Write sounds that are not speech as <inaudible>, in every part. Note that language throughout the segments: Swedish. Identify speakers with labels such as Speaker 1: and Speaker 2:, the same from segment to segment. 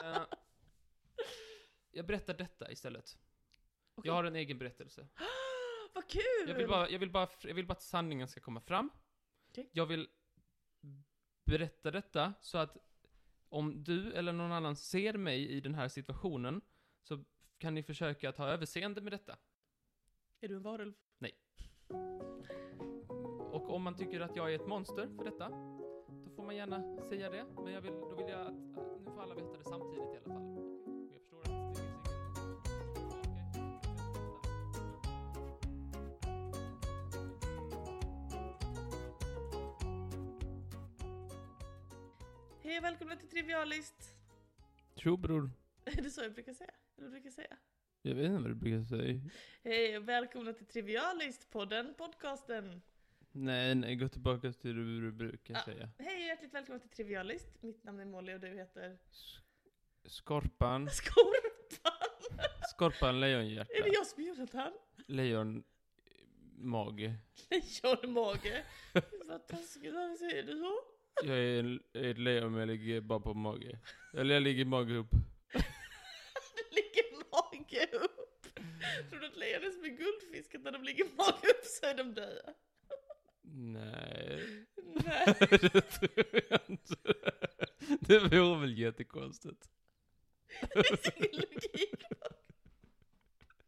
Speaker 1: Eh, jag berättar detta istället.
Speaker 2: Okej.
Speaker 1: Jag har en egen berättelse.
Speaker 2: <gasps> Vad kul!
Speaker 1: Jag vill bara, jag vill bara, jag vill bara att sanningen ska komma fram.
Speaker 2: Okej.
Speaker 1: Jag vill berätta detta så att om du eller någon annan ser mig i den här situationen så kan ni försöka att ha överseende med detta.
Speaker 2: Är du en varulv?
Speaker 1: Och om man tycker att jag är ett monster för detta, då får man gärna säga det. Men jag vill, då vill jag att, att nu får alla veta det samtidigt i alla fall. Och Jag förstår att det finns säkert... Okej.
Speaker 2: Hej och välkomna till Trivialist! <laughs>
Speaker 1: Tjo bror.
Speaker 2: Är det så jag brukar säga? Eller vad brukar jag säga?
Speaker 1: Jag vet inte vad du brukar säga.
Speaker 2: Hej och välkomna till Trivialist-podden, podcasten!
Speaker 1: Nej, nej, gå tillbaka till det du brukar
Speaker 2: Ja.
Speaker 1: säga.
Speaker 2: Hej och hjärtligt välkomna till Trivialist! Mitt namn är Molly och du heter... <laughs>
Speaker 1: Skorpan,
Speaker 2: Skorpan!
Speaker 1: skorpan,
Speaker 2: är
Speaker 1: lejonhjärta,
Speaker 2: det jag som är Jonathan? <laughs>
Speaker 1: lejon, mage.
Speaker 2: Lejonmage! <laughs> Vad taskigt, varför säger du så?
Speaker 1: Jag är en, ett lejon men jag ligger bara på mage. Eller jag ligger mage upp.
Speaker 2: Det ligger mage upp! Tror du att lejon är som en guldfisk, att när de ligger mage upp så är de döda? <laughs>
Speaker 1: Nej, <laughs>
Speaker 2: Nej.
Speaker 1: det tror jag inte. Det vore väl jättekonstigt.
Speaker 2: Det finns ingen logik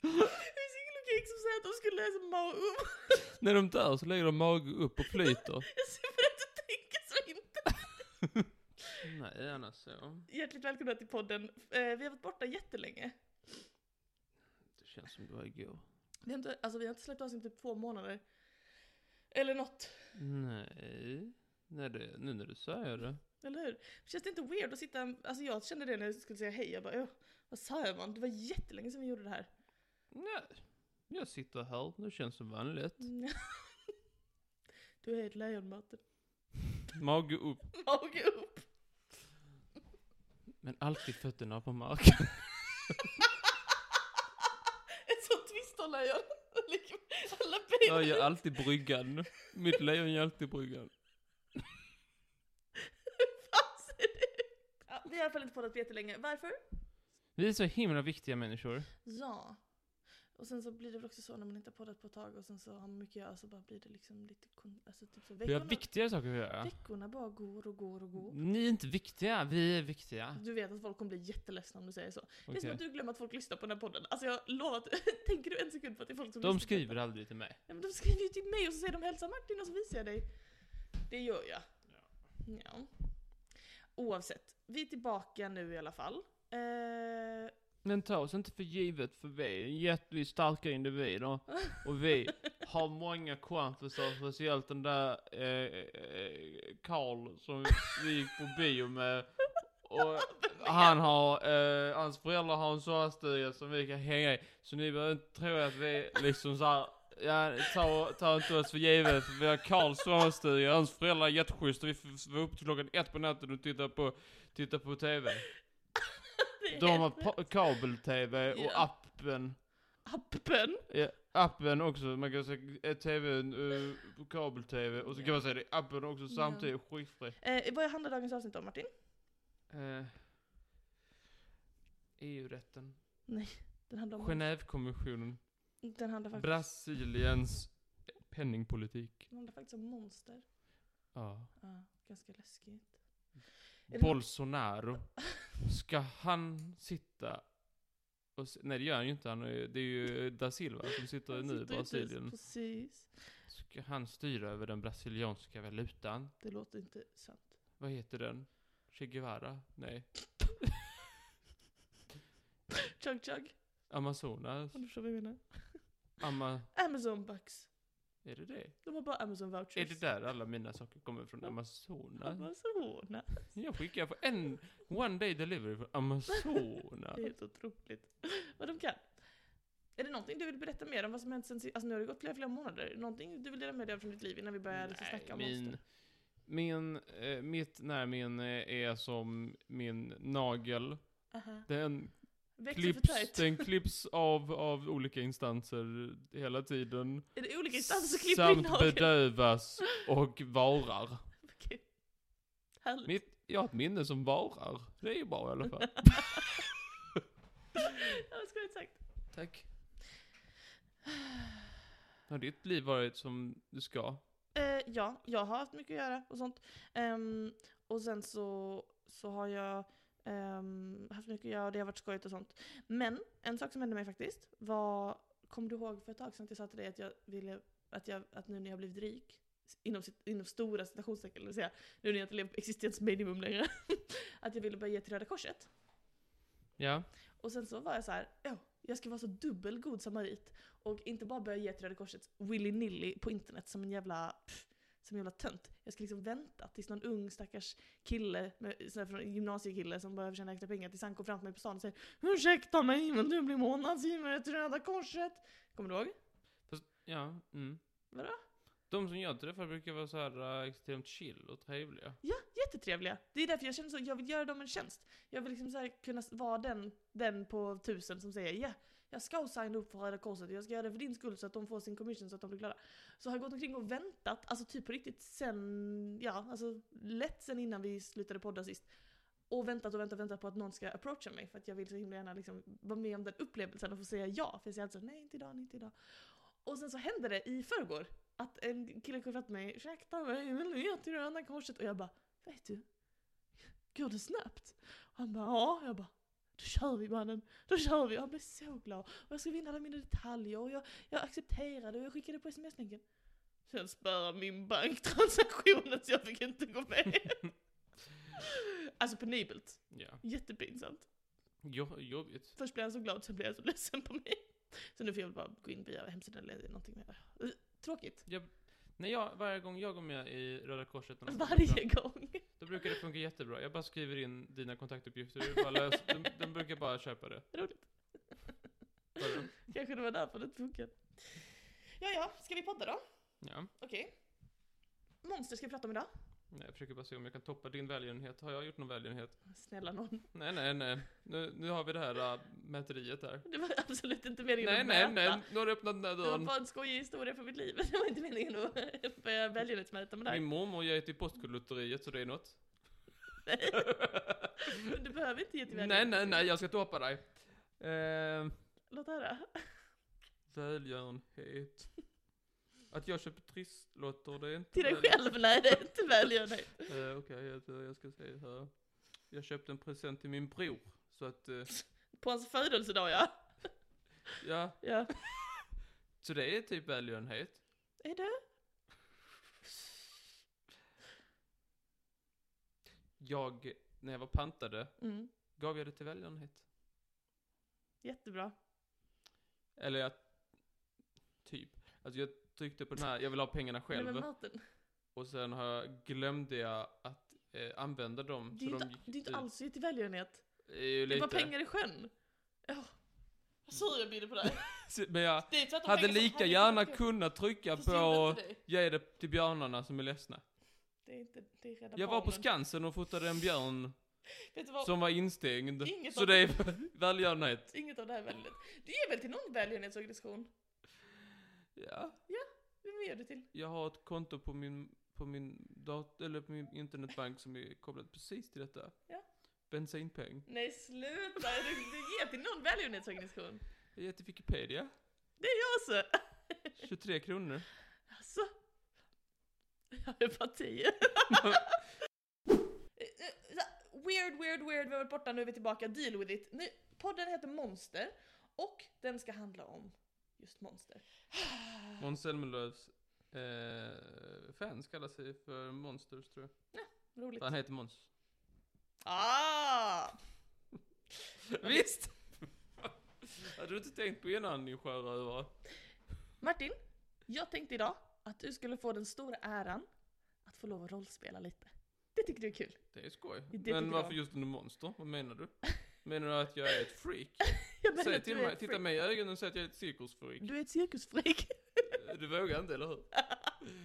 Speaker 2: Det finns ingen logik som säger att de skulle läsa Mao upp.
Speaker 1: När de dör så lägger de mage upp och flyter.
Speaker 2: Jag ser för att du tänker så inte.
Speaker 1: Nej, annars så.
Speaker 2: Hjärtligt välkomna till podden. Eh, Vi har varit borta jättelänge.
Speaker 1: Det känns som det var igår.
Speaker 2: Vi har inte, alltså, vi har inte släppt avsnitt i typ två månader. Eller något.
Speaker 1: Nej, Nej det, nu när du säger det.
Speaker 2: Eller hur? Känns det inte weird att sitta... Alltså jag kände det när jag skulle säga hej. Jag bara, "Åh, vad sa man? Det var jättelänge sedan vi gjorde det här.
Speaker 1: Nej, jag sitter här. Det känns som vanligt.
Speaker 2: Du är ett lejon, Martin.
Speaker 1: Mage upp.
Speaker 2: Mage upp.
Speaker 1: Men alltid fötterna på marken.
Speaker 2: Ett sånt twisterlejon. <laughs> Alla
Speaker 1: Jag
Speaker 2: ben.
Speaker 1: gör alltid bryggan. Mitt lejon gör alltid bryggan.
Speaker 2: Fan, ser det ut? Ja, vi har i alla fall inte poddat på jättelänge. Varför?
Speaker 1: Vi är så himla viktiga människor.
Speaker 2: Ja. Och sen så blir det väl också så när man inte har poddat på ett tag och sen så har man mycket att göra så bara blir det liksom lite kon- alltså typ så
Speaker 1: Vi
Speaker 2: veckorna,
Speaker 1: har viktigare saker att göra.
Speaker 2: veckorna bara går och går och går.
Speaker 1: Ni är inte viktiga, vi är viktiga.
Speaker 2: Du vet att folk kommer bli jätteledsna om du säger så. Det är som
Speaker 1: Okej.
Speaker 2: att du glömmer att folk lyssnar på den här podden. Alltså jag lovar att, <laughs> tänker du en sekund på att det är folk som
Speaker 1: De
Speaker 2: lyssnar på
Speaker 1: skriver
Speaker 2: detta?
Speaker 1: aldrig till mig.
Speaker 2: Nej, men de skriver ju till mig och så säger de hälsa Martin och så visar jag dig. Det gör jag. Ja. Oavsett. Vi är tillbaka nu i alla fall. Eh,
Speaker 1: Men ta oss inte för givet, för vi är jättestarka individer. Och vi har många kompisar, speciellt den där eh, eh, Karl som vi gick på bio med. Och han har, eh, hans föräldrar har en sommarstuga som vi kan hänga i. Så ni behöver inte tro att vi liksom såhär, ja, ta, ta inte oss för givet. Vi har Karls sommarstuga, hans föräldrar är jätteschyssta. Vi f- var uppe till klockan ett på natten och tittade på, tittade på TV.
Speaker 2: det är
Speaker 1: De har
Speaker 2: helt <laughs> rätt.
Speaker 1: pa- kabel-TV och
Speaker 2: Ja.
Speaker 1: appen.
Speaker 2: appen.
Speaker 1: Ja, appen också, man kan se eh, tvn eh, på kabel-tv och så
Speaker 2: Ja.
Speaker 1: kan man se det i appen också
Speaker 2: Ja.
Speaker 1: samtidigt, skitfri.
Speaker 2: Eh, vad handlar dagens avsnitt om Martin?
Speaker 1: Eh, EU-rätten.
Speaker 2: Den handlar om...
Speaker 1: Genèvekonventionen.
Speaker 2: Den handlar faktiskt,
Speaker 1: Brasiliens penningpolitik.
Speaker 2: den handlar faktiskt om monster.
Speaker 1: Ja.
Speaker 2: Ja, ganska läskigt. Är det
Speaker 1: Bolsonaro. Ska han sitta och se- Nej det gör han ju inte, han är, ju- det är ju da Silva som sitter
Speaker 2: Han
Speaker 1: nu i
Speaker 2: sitter ju inte ens-
Speaker 1: Brasilien.
Speaker 2: Precis.
Speaker 1: Ska han styra över den brasilianska valutan?
Speaker 2: Det låter inte
Speaker 1: <laughs>
Speaker 2: sant.
Speaker 1: Vad heter den? Che Guevara? Nej.
Speaker 2: Chug chug.
Speaker 1: Amazonas?
Speaker 2: Om du förstår vad jag menar.
Speaker 1: Ama...
Speaker 2: Amazon bucks.
Speaker 1: Är det det?
Speaker 2: De har bara Amazon vouchers.
Speaker 1: Är det där alla mina saker kommer från? Amazonas?
Speaker 2: Amazona.
Speaker 1: Jag skickar på en one day delivery från Amazonas.
Speaker 2: <laughs> Det är helt otroligt. vad de kan. Är det någonting du vill berätta mer om vad som hänt sen si- Alltså nu har det gått flera, flera månader. Är det Någonting du vill dela med dig av från ditt liv innan vi börjar liksom snacka om
Speaker 1: min,
Speaker 2: monster?
Speaker 1: min, eh, mitt närminne är som min nagel.
Speaker 2: Aha.
Speaker 1: Den
Speaker 2: Växer för
Speaker 1: klipps,
Speaker 2: tajt.
Speaker 1: den klipps av, av olika instanser hela tiden.
Speaker 2: Är det olika instanser som klipper in
Speaker 1: Samt
Speaker 2: nageln?
Speaker 1: bedövas och varar.
Speaker 2: Okej. Härligt. <laughs>
Speaker 1: Mitt, jag har ett minne som varar. Det är ju bra i alla fall. Tack. Har ditt liv varit som du ska?
Speaker 2: Eh, ja, jag har haft mycket att göra och sånt. Ehm, och sen så, så har jag ehm, haft mycket att göra och det har varit skojigt och sånt. Men en sak som hände mig faktiskt var, kom du ihåg för ett tag sedan att jag sa till dig att jag ville, att, jag, att nu när jag blivit rik, inom, sit- inom stora citationstecken, det vill säga nu när jag inte lever på existensminimum längre, <laughs> att jag ville börja ge till Röda Korset.
Speaker 1: Ja.
Speaker 2: Och sen så var jag så här, ja, jag ska vara så dubbelgod samarit. Och inte bara börja ge till Röda Korset willy-nilly på internet som en jävla, pff, som en jävla tönt. Jag ska liksom vänta tills någon ung stackars kille, med, sån här från en gymnasiekille som behöver tjäna extra pengar, tills han går framför mig på stan och säger Ursäkta mig men du blir månadsgivare till Röda Korset. Kommer du ihåg?
Speaker 1: Fast, ja, mm.
Speaker 2: Vadå?
Speaker 1: De som jag träffar brukar vara så här eh, extremt chill och trevliga.
Speaker 2: Ja, jättetrevliga. Det är därför jag känner så, jag vill göra dem en tjänst. Jag vill liksom så här kunna s- vara den, den på tusen som säger ja, jag ska signa upp för Röda Korset, jag ska göra det för din skull så att de får sin commission så att de blir glada. Så har jag gått omkring och väntat, alltså typ på riktigt sen, ja, alltså lätt sen innan vi slutade podda sist. Och väntat och väntat och väntat på att någon ska approacha mig för att jag vill så himla gärna liksom vara med om den upplevelsen och få säga ja. För jag säger alltså nej, inte idag, inte idag. Och sen så hände det i förrgår att en kille kom fram till mig, ursäkta mig, jag vill ge till Röda Korset. Och jag bara, vet du? Går det snabbt? Och han bara, ja. Jag bara, då kör vi mannen, då kör vi. Och han blev så glad. Och jag skrev in alla mina detaljer och jag, jag accepterade och jag skickade på sms-länken. Sen spärrade min bank transaktionen så jag fick inte gå med. alltså penibelt.
Speaker 1: Ja.
Speaker 2: Jättepinsamt.
Speaker 1: Jo, jobbigt.
Speaker 2: Först blev han så glad, sen blev han så ledsen på mig. Så nu får jag väl bara gå in via hemsidan eller någonting. Mer. Eh, Tråkigt.
Speaker 1: Jag, när jag, varje gång jag går med i Röda Korset när de kommer
Speaker 2: Varje
Speaker 1: fram,
Speaker 2: gång. <laughs>
Speaker 1: Då brukar det funka jättebra. Jag bara skriver in dina kontaktuppgifter och bara lös, de, de brukar bara köpa det.
Speaker 2: Roligt.
Speaker 1: Bara,
Speaker 2: Kanske det var därför det inte funkade. Ja, ja, ska vi podda då?
Speaker 1: Ja.
Speaker 2: Okej. Monster ska vi prata om idag.
Speaker 1: Nej, Jag försöker bara se om jag kan toppa din välgörenhet. Har jag gjort någon välgörenhet?
Speaker 2: Snälla någon.
Speaker 1: Nej, nej, nej. Nu, nu har vi det här äh, mäteriet här.
Speaker 2: Det var absolut inte meningen
Speaker 1: Nej,
Speaker 2: att
Speaker 1: nej,
Speaker 2: mäta.
Speaker 1: nej. Nu har du öppnat den här
Speaker 2: Det var
Speaker 1: dörren.
Speaker 2: bara en skojig historia för mitt liv. <laughs> Det var inte meningen att börja välgörenhetsmäta med det
Speaker 1: Min
Speaker 2: här.
Speaker 1: mormor ger till Postkodlotteriet, så det är
Speaker 2: <laughs>
Speaker 1: något.
Speaker 2: Nej. Du behöver inte ge till
Speaker 1: nej, nej,
Speaker 2: välgörenhet.
Speaker 1: nej. Jag ska toppa dig. Eh,
Speaker 2: Låt höra.
Speaker 1: välgörenhet. Att jag köper trisslotter, det är inte...
Speaker 2: Till dig
Speaker 1: väl-
Speaker 2: själv? Nej, det är inte välgörenhet.
Speaker 1: Eh, Okej, jag, jag ska se här. Jag köpte en present till min bror. Så att, eh,
Speaker 2: På hans födelsedag ja.
Speaker 1: ja.
Speaker 2: Ja.
Speaker 1: Så det är typ välgörenhet.
Speaker 2: Är det?
Speaker 1: Jag, när jag var pantade,
Speaker 2: Mm.
Speaker 1: gav jag det till välgörenhet.
Speaker 2: Jättebra.
Speaker 1: Eller jag... Typ. Alltså jag tryckte på den här, jag vill ha pengarna
Speaker 2: Men
Speaker 1: själv.
Speaker 2: Martin,
Speaker 1: Och sen har jag, glömde jag att eh, använda dem.
Speaker 2: det är ju
Speaker 1: de
Speaker 2: inte, det är inte
Speaker 1: dit.
Speaker 2: alls att ge till välgörenhet.
Speaker 1: Det är ju
Speaker 2: Det var
Speaker 1: lite.
Speaker 2: pengar i sjön. Ja. Vad sur jag blir på det. här.
Speaker 1: Men jag
Speaker 2: Det är tvärtom
Speaker 1: hade
Speaker 2: pengar som
Speaker 1: lika
Speaker 2: hade
Speaker 1: gärna
Speaker 2: kunnat gå
Speaker 1: kunnat trycka
Speaker 2: till synd
Speaker 1: på
Speaker 2: till dig.
Speaker 1: ge det till björnarna som är ledsna.
Speaker 2: Det är inte, det är Rädda
Speaker 1: Jag var på
Speaker 2: Barnen.
Speaker 1: Skansen och fotade en björn
Speaker 2: Vet du vad?
Speaker 1: som var instängd.
Speaker 2: Inget
Speaker 1: Så
Speaker 2: av-
Speaker 1: det är <laughs> välgörenhet.
Speaker 2: Inget av det här är väldigt. Du ger väl till någon välgörenhetsorganisation?
Speaker 1: Ja.
Speaker 2: Vem ger du till?
Speaker 1: Jag har ett konto på min, på min dator, eller på min internetbank som är kopplat precis till detta.
Speaker 2: Ja.
Speaker 1: Bensinpeng.
Speaker 2: Nej sluta, du, du ger till någon välgörenhetsorganisation.
Speaker 1: Jag ger till Wikipedia.
Speaker 2: Det är jag så.
Speaker 1: 23 kronor.
Speaker 2: Alltså. Jag är parti. Eh, eh, så- <laughs> Weird, weird, weird, vi har varit borta, nu är vi tillbaka, deal with it. Nu, podden heter Monster och den ska handla om just monster. Ah.
Speaker 1: Måns Zelmerlöws eh, fans kallar sig för Monsters tror jag.
Speaker 2: Roligt.
Speaker 1: För han heter Måns.
Speaker 2: Ah!
Speaker 1: Visst! Hade du inte tänkt på innan din sjörövare?
Speaker 2: Martin, jag tänkte idag att du skulle få den stora äran att få lov att rollspela lite. Det tycker du är kul.
Speaker 1: Det är skoj.
Speaker 2: Det tycker
Speaker 1: Men varför
Speaker 2: jag.
Speaker 1: just under monster? Vad menar du? Menar du att jag är ett freak?
Speaker 2: <laughs> <laughs> Jag menar
Speaker 1: Säg
Speaker 2: att
Speaker 1: till
Speaker 2: du är
Speaker 1: mig,
Speaker 2: ett
Speaker 1: titta
Speaker 2: freak.
Speaker 1: mig i ögonen och säg att jag är ett
Speaker 2: <laughs>
Speaker 1: cirkusfreak.
Speaker 2: Du är ett cirkusfreak.
Speaker 1: Du vågar inte, eller hur?
Speaker 2: <laughs>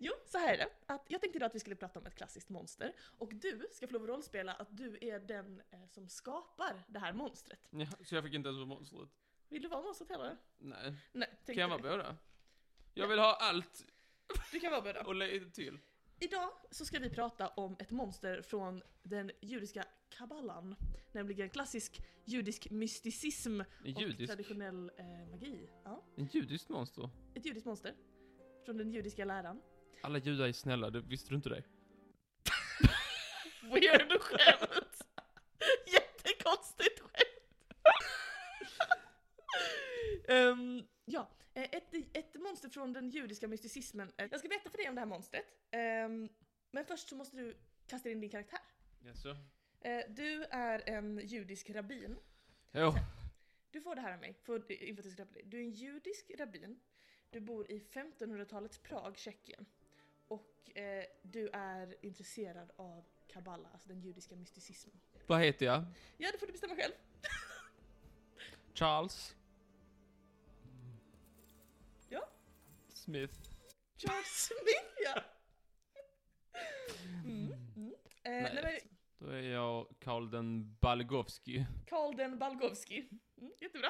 Speaker 2: Jo, så här är det. Att jag tänkte idag att vi skulle prata om ett klassiskt monster. Och du ska få lov att rollspela att du är den eh, som skapar det här monstret.
Speaker 1: Ja, så jag fick inte ens vara monstret?
Speaker 2: Vill du vara monstret hellre?
Speaker 1: Nej.
Speaker 2: Nej, tänkte
Speaker 1: Kan jag
Speaker 2: du.
Speaker 1: vara båda? Jag vill ha allt
Speaker 2: Du kan vara båda.
Speaker 1: och lite till.
Speaker 2: Idag så ska vi prata om ett monster från den judiska kabbalan. Nämligen klassisk judisk mysticism
Speaker 1: En
Speaker 2: och
Speaker 1: judisk,
Speaker 2: traditionell eh, magi. Ja.
Speaker 1: en judisk monster.
Speaker 2: Ett judiskt monster. Från den judiska läran.
Speaker 1: Alla judar är snälla, det visste du inte det?
Speaker 2: Weird skämt! <laughs> Jättekonstigt skämt! <laughs> Ehm, ja, eh, ett, ett monster från den judiska mysticismen. Eh, Jag ska berätta för dig om det här monstret. Ehm, men först så måste du kasta in din karaktär.
Speaker 1: Jaså?
Speaker 2: Eh, du är en judisk rabbin.
Speaker 1: Jo,
Speaker 2: Du får det här av mig, för, inför att du ska på det. Du är en judisk rabbin. Du bor i 1500-talets Prag, Tjeckien. Och eh, du är intresserad av kabbala, alltså den judiska mysticismen.
Speaker 1: vad heter jag?
Speaker 2: Ja, det får du bestämma själv.
Speaker 1: Charles?
Speaker 2: Ja.
Speaker 1: Smith?
Speaker 2: Charles Smith,
Speaker 1: <laughs>
Speaker 2: ja! Mm, mm. Eh,
Speaker 1: Nej.
Speaker 2: nej, men
Speaker 1: Då är jag Karl den Balgovski.
Speaker 2: Karl den Balgovski. Mm, jättebra.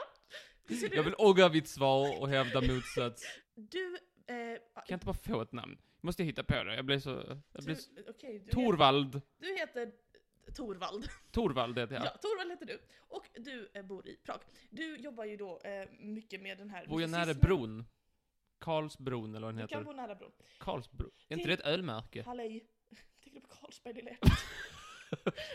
Speaker 2: Du ser
Speaker 1: Jag
Speaker 2: det.
Speaker 1: vill ångra mitt svar och hävda motsats.
Speaker 2: Du... Eh,
Speaker 1: Kan jag inte bara få ett namn? Måste jag hitta på det? Jag blir så... Jag blir så...
Speaker 2: du, okej, du, heter,
Speaker 1: Torvald.
Speaker 2: du heter Torvald.
Speaker 1: Torvald heter
Speaker 2: Ja,
Speaker 1: jag.
Speaker 2: Torvald heter du. Och du eh, bor i Prag. Du jobbar ju då eh, mycket med den här...
Speaker 1: Bor jag nära
Speaker 2: mysticismen.
Speaker 1: bron? Karlsbron eller vad den
Speaker 2: Du kan
Speaker 1: heter.
Speaker 2: bo nära bron.
Speaker 1: Karlsbron. Är inte det
Speaker 2: Till-
Speaker 1: ett ölmärke?
Speaker 2: Halloj! <laughs> Tänker du på Carlsberg
Speaker 1: <laughs>
Speaker 2: lilla hjärtat?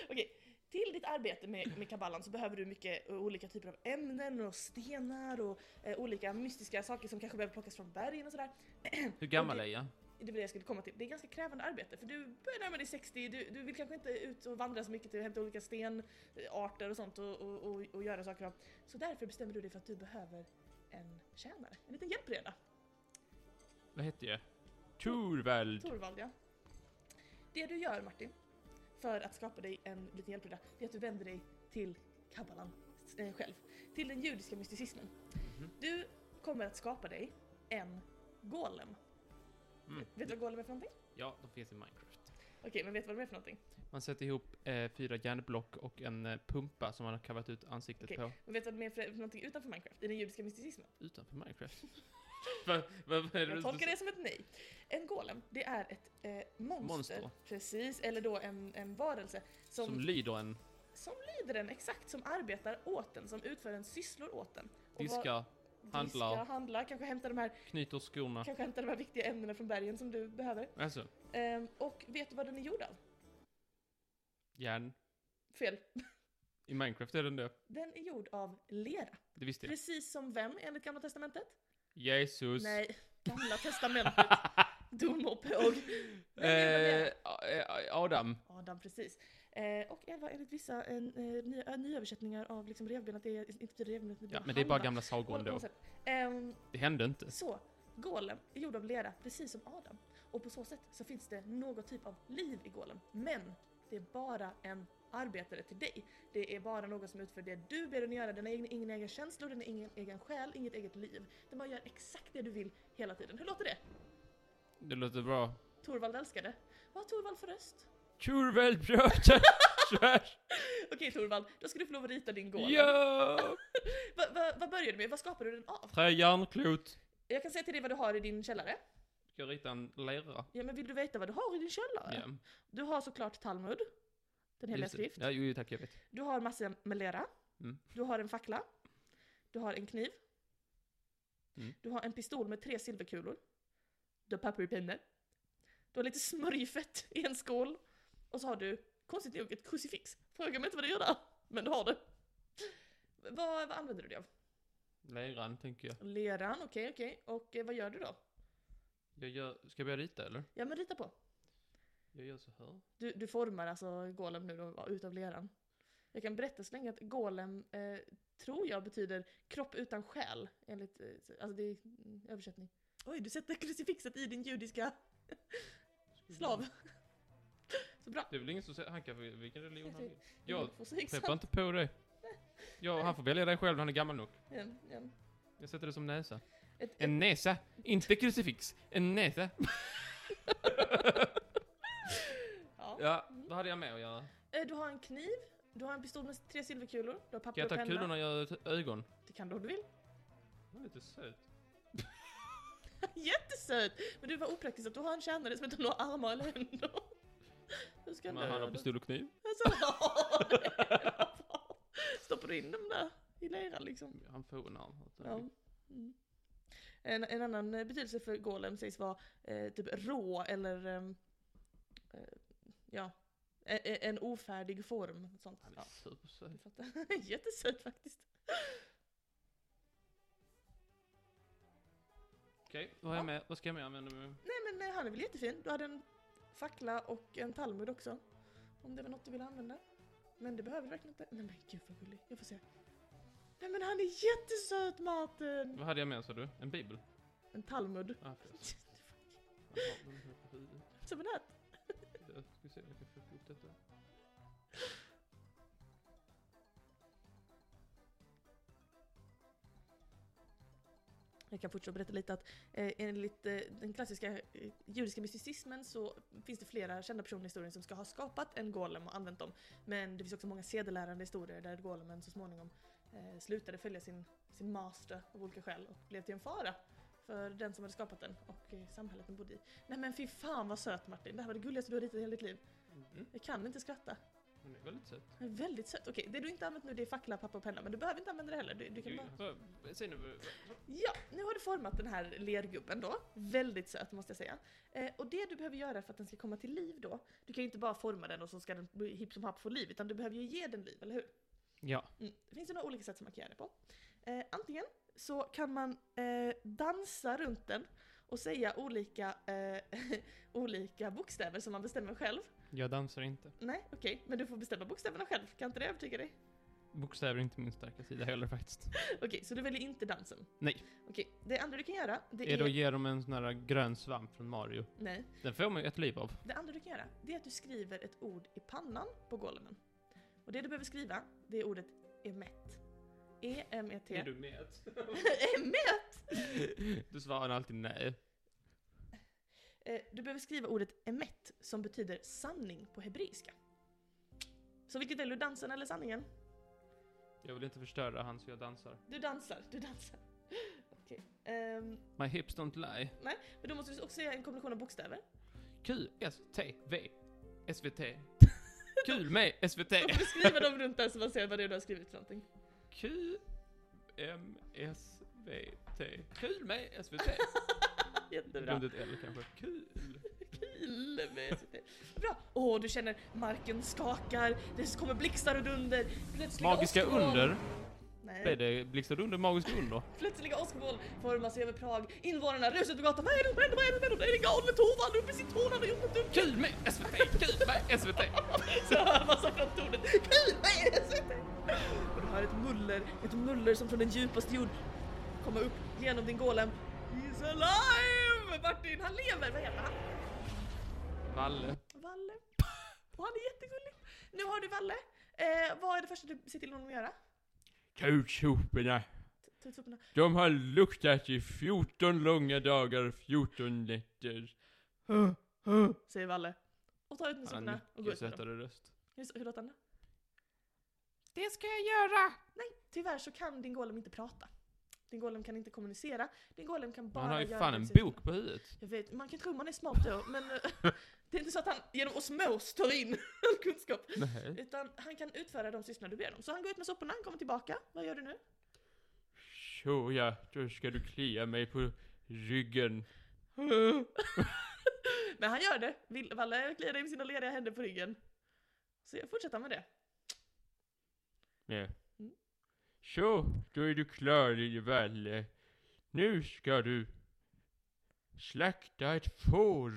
Speaker 2: Okej, till ditt arbete med, med kabbalan så behöver du mycket eh, olika typer av ämnen och stenar och eh, olika mystiska saker som kanske behöver plockas från bergen och sådär.
Speaker 1: Hur gammal
Speaker 2: det-
Speaker 1: är jag?
Speaker 2: Det var det jag skulle komma till. Det är ganska krävande arbete för du börjar närma dig 60, du, du vill kanske inte ut och vandra så mycket till att hämta olika stenarter och sånt och, och, och, och göra saker av. Så därför bestämmer du dig för att du behöver en tjänare, en liten hjälpreda.
Speaker 1: Vad heter jag? Torvald.
Speaker 2: Torvald, ja. Det du gör Martin, för att skapa dig en liten hjälpreda, det är att du vänder dig till kabbalan eh, själv. Till den judiska mysticismen.
Speaker 1: Mhm.
Speaker 2: Du kommer att skapa dig en golem.
Speaker 1: Mm.
Speaker 2: Vet du vad golem är för någonting?
Speaker 1: Ja, de finns i Minecraft.
Speaker 2: Okej, men vet du vad de är för någonting?
Speaker 1: Man sätter ihop eh, fyra järnblock och en eh, pumpa som man har kavat ut ansiktet
Speaker 2: Okej.
Speaker 1: på
Speaker 2: Men vet du vad de är för, för någonting utanför Minecraft? I den judiska mysticismen?
Speaker 1: utanför Minecraft. <laughs> vad, vad, vad är det
Speaker 2: Jag
Speaker 1: du
Speaker 2: tolkar
Speaker 1: sa?
Speaker 2: det som ett nej. En golem, det är ett eh, monster,
Speaker 1: Monster.
Speaker 2: Precis, eller då en, en varelse som,
Speaker 1: Som lyder en,
Speaker 2: lider den exakt, som arbetar åt den, som utför en sysslor åt den. Och vad-
Speaker 1: diskar, Handlar.
Speaker 2: Diska, handla, kanske hämta de här,
Speaker 1: knyter skorna.
Speaker 2: kanske hämta de här viktiga ämnena från bergen som du behöver.
Speaker 1: Alltså,
Speaker 2: Ehm, och vet du vad den är gjord av?
Speaker 1: järn.
Speaker 2: Fel.
Speaker 1: I Minecraft är den det.
Speaker 2: Den är gjord av lera.
Speaker 1: Det visste jag.
Speaker 2: Precis som vem enligt Gamla Testamentet?
Speaker 1: Jesus.
Speaker 2: Nej,
Speaker 1: <laughs>
Speaker 2: Gamla Testamentet. Dom och påg.
Speaker 1: Eh,
Speaker 2: Eh.
Speaker 1: eh, Adam.
Speaker 2: Adam, precis. Eh, och Eva, enligt vissa en, eh, nya, äh, nyöversättningar av liksom revben, att det är, inte betyder revben utan
Speaker 1: Ja, men det är bara
Speaker 2: handla.
Speaker 1: gamla sagor
Speaker 2: På
Speaker 1: ändå.
Speaker 2: något sätt. Ehm,
Speaker 1: Det hände inte.
Speaker 2: Så, Golem är gjord av lera, precis som Adam. Och på så sätt så finns det någon typ av liv i Golem. Men det är bara en arbetare till dig. Det är bara någon som utför det du ber den göra. Den har ingen, ingen egen känslor, den har ingen egen själ, inget eget liv. Den bara gör exakt det du vill hela tiden. Hur låter det?
Speaker 1: Det låter bra.
Speaker 2: Torvald älskar det. Vad har Torvald för röst? <laughs>
Speaker 1: Tjurvälbröder!
Speaker 2: Okej Torvald, då ska du få lov att rita din Golem.
Speaker 1: Ja!
Speaker 2: Va, va, vad börjar du med? Vad skapar du den av?
Speaker 1: Trä järnklot.
Speaker 2: Jag kan säga till dig vad du har i din källare.
Speaker 1: Ska jag rita en lera?
Speaker 2: Ja men vill du veta vad du har i din källare?
Speaker 1: Ja.
Speaker 2: Du har såklart Talmud. Den heliga
Speaker 1: Just det.
Speaker 2: skrift.
Speaker 1: Ja, jo, jo, tack, jag vet.
Speaker 2: Du har massor med lera.
Speaker 1: Mm.
Speaker 2: Du har en fackla. Du har en kniv.
Speaker 1: Mm.
Speaker 2: Du har en pistol med tre silverkulor. Du har papper i penne. Du har lite smörjfett i en skål. Och så har du, konstigt nog, ett krucifix. Fråga mig inte vad du gör där, men du har det. Vad, vad använder du dig av?
Speaker 1: Leran, tänker jag.
Speaker 2: Leran, okej, okej. Och eh, vad gör du då?
Speaker 1: jag gör... Ska jag börja rita, eller?
Speaker 2: Ja, men rita på.
Speaker 1: Jag gör så här.
Speaker 2: Du, du formar alltså golem nu då, utav leran. Jag kan berätta så länge att golem eh, tror jag betyder kropp utan själ. Enligt, eh, alltså det är mm, översättning. Oj, du sätter krucifixet i din judiska slav. <laughs> Så bra.
Speaker 1: Det är väl ingen som säger... Han kan få vilken religion han vill.
Speaker 2: Du
Speaker 1: Jag
Speaker 2: får säga
Speaker 1: peppar
Speaker 2: exakt.
Speaker 1: inte på dig. Ja, han får välja dig själv, han är gammal nog.
Speaker 2: Igen, igen.
Speaker 1: Jag sätter det som näsa.
Speaker 2: Ett, ett,
Speaker 1: En näsa! Inte krucifix! En näsa!
Speaker 2: ja.
Speaker 1: Ja, vad hade jag med att göra?
Speaker 2: Eh, Du har en kniv, du har en pistol med tre silverkulor, du har
Speaker 1: Kan
Speaker 2: papper
Speaker 1: jag
Speaker 2: och
Speaker 1: ta
Speaker 2: penna.
Speaker 1: kulorna och göra ett ögon?
Speaker 2: Det kan du om du vill. <laughs>
Speaker 1: Han är lite söt.
Speaker 2: Jättesöt! Men du var opraktisk att du har en tjänare som inte har några armar eller händer. <laughs> Hur ska han
Speaker 1: Men han har
Speaker 2: döda?
Speaker 1: pistol och kniv.
Speaker 2: Alltså, <laughs> ja, det är bra. Stoppar du in dem där i leran liksom?
Speaker 1: Han får en arm.
Speaker 2: Ja. Mm. En, en annan eh, betydelse för golem sägs vara eh, typ rå eller ehm, eh, ja, e- e- en ofärdig form. något Sånt.
Speaker 1: Han är
Speaker 2: Ja,
Speaker 1: supersöt.
Speaker 2: du fattar. <laughs> Jättesöt faktiskt.
Speaker 1: Okej, vad har
Speaker 2: Ja.
Speaker 1: jag med? Vad ska jag med använda mig av?
Speaker 2: Nej men eh, han är väl jättefin. Du hade en fackla och en talmud också. Om det var något du ville använda. Men det behöver du verkligen inte. Nej men gud vad gullig. Jag får se. Nej men han är jättesöt Martin!
Speaker 1: Vad hade jag med sa du? En bibel?
Speaker 2: En talmud.
Speaker 1: Ah, förresten.
Speaker 2: <laughs>
Speaker 1: Jag har den här på huvudet.
Speaker 2: Som en hatt.
Speaker 1: Jag ska se, jag kan få upp detta.
Speaker 2: Jag kan fortsätta berätta lite att eh, enligt eh, den klassiska eh, judiska mysticismen så finns det flera kända personer i historien som ska ha skapat en golem och använt dem. Men det finns också många sedelärande historier där golemen så småningom eh, slutade följa sin, sin master av olika skäl och blev till en fara för den som hade skapat den och eh, samhället den bodde i. Nej men fy fan vad söt Martin, det här var det gulligaste du har ritat i hela ditt liv.
Speaker 1: Mm.
Speaker 2: Jag kan inte skratta.
Speaker 1: Hon är väldigt söt.
Speaker 2: Den är väldigt söt. Okej, det du inte har använt nu det är fackla, papper och penna men du behöver inte använda det heller. Du, du kan
Speaker 1: Jo,
Speaker 2: bara...
Speaker 1: så- Säg nu. vad-
Speaker 2: Ja, nu har du format den här lergubben då. Väldigt söt måste jag säga. Eh, och det du behöver göra för att den ska komma till liv då, du kan ju inte bara forma den och så ska den bli hipp som happ få liv, utan du behöver ju ge den liv, eller hur?
Speaker 1: Ja.
Speaker 2: Mm. Det finns ju några olika sätt som man kan göra det på. Eh, antingen så kan man eh, dansa runt den och säga olika, eh, <laughs> olika bokstäver som man bestämmer själv.
Speaker 1: Jag dansar inte.
Speaker 2: Nej, okej, men du får bestämma bokstäverna själv. Kan inte det övertyga dig?
Speaker 1: Bokstäver är inte min starka sida heller faktiskt.
Speaker 2: Okej, så du väljer inte dansen?
Speaker 1: Nej.
Speaker 2: Okej, det andra du kan göra, det
Speaker 1: Det är
Speaker 2: är...
Speaker 1: då ge dem en sån här grön svamp från Mario.
Speaker 2: Nej.
Speaker 1: Den får man ju ett liv av.
Speaker 2: Det andra du kan göra, det är att du skriver ett ord i pannan på golemen. Och det du behöver skriva, det är ordet emet. E-M-E-T.
Speaker 1: du med?
Speaker 2: <laughs> emet!
Speaker 1: <laughs> Du svarar alltid nej.
Speaker 2: Eh, Du behöver skriva ordet emet, som betyder sanning på hebreiska. Så vilket väljer du, dansen eller sanningen?
Speaker 1: Jag vill inte förstöra han så jag dansar.
Speaker 2: Du dansar, du dansar. <laughs> Okej. ehm,
Speaker 1: My hips don't lie.
Speaker 2: men då måste du också säga en kombination av bokstäver.
Speaker 1: Q, S, T, V, SVT. Kul med SVT.
Speaker 2: Då får du skriva dem runt där så man ser vad det är du har skrivit för någonting. <laughs>
Speaker 1: Q, M, S, V, T. Kul med SVT. Jag
Speaker 2: Jättebra.
Speaker 1: glömde ett L kanske. Kul.
Speaker 2: Kul med SVT. Bra! Åh, du känner marken skakar, det kommer blixtar och dunder. Plötsliga
Speaker 1: Magiska
Speaker 2: åskmoln-
Speaker 1: under. Blev
Speaker 2: Nej,
Speaker 1: det blixtrade under magiska under?
Speaker 2: plötsliga åskmoln formar sig över Prag. Invånarna rusar ut på gatan. Vad är det? Vad är det? Vad är det? Vad är det? Det är galne Tovan uppe i sitt torn. Han har gjort en dum
Speaker 1: Kul med SVT. Kul med SVT.
Speaker 2: Så hör man så från tornet. Kul med SVT! Och du hör ett muller, ett muller som från den djupaste jord kommer upp genom din golem. He's alive! Martin, han lever! Vad heter han?
Speaker 1: Valle.
Speaker 2: Valle. Och han är jättegullig. Nu har du Valle. Eh, vad är det första du ser till honom att göra?
Speaker 1: Kautschupperna.
Speaker 2: Tutsoporna.
Speaker 1: De har luktat i 14 långa dagar, 14 nätter.
Speaker 2: Säger Valle. Och tar ut med soporna och går ut med dem.
Speaker 1: röst.
Speaker 2: Hur, hur låter han då?
Speaker 1: Det ska jag göra!
Speaker 2: Nej, tyvärr så kan din golem inte prata. Din golem kan inte kommunicera. Din golem kan bara
Speaker 1: Han har ju
Speaker 2: göra
Speaker 1: fan en
Speaker 2: utsidan.
Speaker 1: bok på huvudet.
Speaker 2: Jag vet, man kan tro man är smart då, men eh, <laughs> det är inte så att han genom osmos tar in <laughs> all kunskap.
Speaker 1: Nej.
Speaker 2: Utan han kan utföra de sysslorna du ber om. Så han går ut med soporna, han kommer tillbaka. Vad gör du nu?
Speaker 1: Så ja, då ska du klia mig på ryggen.
Speaker 2: <laughs> Men han gör det. Vill- Valle kliar dig med sina lediga händer på ryggen. Så jag
Speaker 1: <laughs>
Speaker 2: fortsätter med det.
Speaker 1: Ja.
Speaker 2: Mm.
Speaker 1: Så, då är du klar lille Valle. Nu ska du slakta ett får.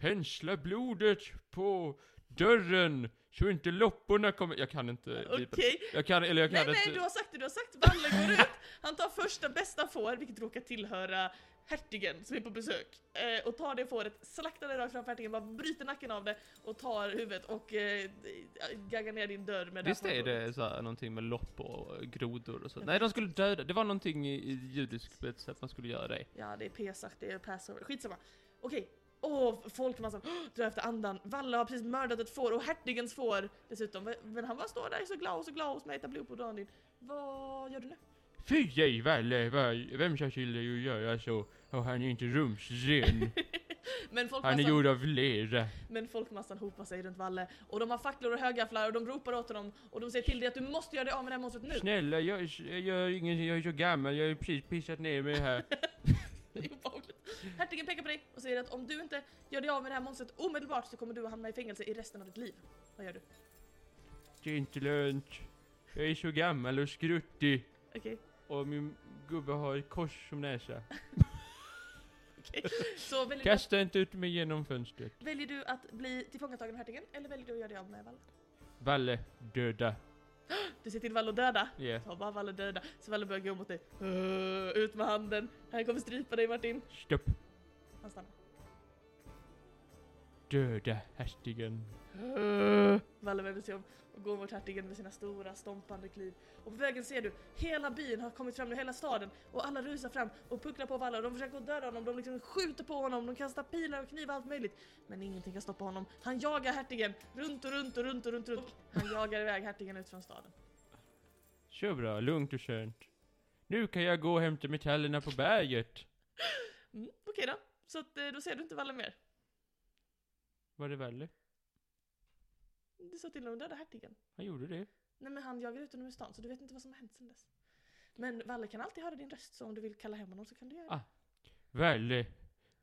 Speaker 1: Pensla blodet på dörren så inte lopporna kommer... Jag kan inte...
Speaker 2: Okej.
Speaker 1: bipa- Jag kan, eller jag kan
Speaker 2: Nej
Speaker 1: inte...
Speaker 2: nej, du har sagt det, du har sagt Valle går ut. Han tar första bästa får, vilket råkar tillhöra hertigen som är på besök. Eh, och tar det fåret, slaktar det rakt framför hertigen, bara bryter nacken av det och tar huvudet och eh, gaggar ner din dörr med
Speaker 1: Visst
Speaker 2: här
Speaker 1: är
Speaker 2: fåret.
Speaker 1: det så här, någonting med lopp och grodor och så? Nej, de skulle döda. Det var någonting i, i judisk berättelse att man skulle göra det.
Speaker 2: Ja, det är Pesach, det är Passover, skitsamma. Okej. Åh, folkmassan drar efter andan. Valle har precis mördat ett får och hertigens får dessutom. Men han bara står där så glad och så glad och smetar blod på dagen din. Vad gör du nu?
Speaker 1: Fy
Speaker 2: <laughs>
Speaker 1: dig Valle, va- vem sa till dig att göra så? Och han är inte rumsren.
Speaker 2: Men
Speaker 1: Han är
Speaker 2: folkmassan,
Speaker 1: gjord av lera.
Speaker 2: men folkmassan hopar sig runt Valle och de har facklor och högafflar och de ropar åt honom och de säger till dig att du måste göra dig av med det
Speaker 1: <laughs>
Speaker 2: här monstret nu.
Speaker 1: Snälla, jag, jag gör ingenting, jag är så gammal, jag har ju precis pissat ner mig här.
Speaker 2: Det är obehagligt. Hertigen pekar på dig och säger att om du inte gör dig av med det här monstret omedelbart så kommer du att hamna i fängelse i resten av ditt liv. Vad gör du?
Speaker 1: Det är inte lönt. Jag är så gammal och skruttig.
Speaker 2: Okej.
Speaker 1: Och min gubbe har ett kors som näsa.
Speaker 2: Så väljer du, att,
Speaker 1: Kasta inte ut mig genom fönstret.
Speaker 2: väljer du att bli tillfångatagen av hertigen eller väljer du att göra dig av med Valle?
Speaker 1: Valle, döda.
Speaker 2: Du säger till Valle att döda.
Speaker 1: Ja.
Speaker 2: Ta bara Valle döda. Så Valle börjar gå mot dig. Öh, Ut med handen. Han kommer strypa dig Martin.
Speaker 1: Stopp.
Speaker 2: Han stannar.
Speaker 1: Döda hertigen.
Speaker 2: Uh. Valle vänder sig om och går mot hertigen med sina stora stompande kliv. Och på vägen ser du, hela byn har kommit fram nu, hela staden. Och alla rusar fram och pucklar på Valle och de försöker döda honom, de liksom skjuter på honom, de kastar pilar och knivar allt möjligt. Men ingenting kan stoppa honom. Han jagar hertigen runt och runt och runt och runt och runt. Han jagar iväg hertigen ut från staden.
Speaker 1: Så bra, lugnt och skönt. Nu kan jag gå och hämta metallerna på berget.
Speaker 2: Mm, Okej då, så att, eh, då ser du inte Valle mer.
Speaker 1: Var det Valle?
Speaker 2: Du sa till honom att döda hertigen.
Speaker 1: Han gjorde det.
Speaker 2: Nej men han jagar ut honom ur stan så du vet inte vad som har hänt sedan dess. Men Valle kan alltid höra din röst så om du vill kalla hem honom så kan du göra det.
Speaker 1: Ah. Valle,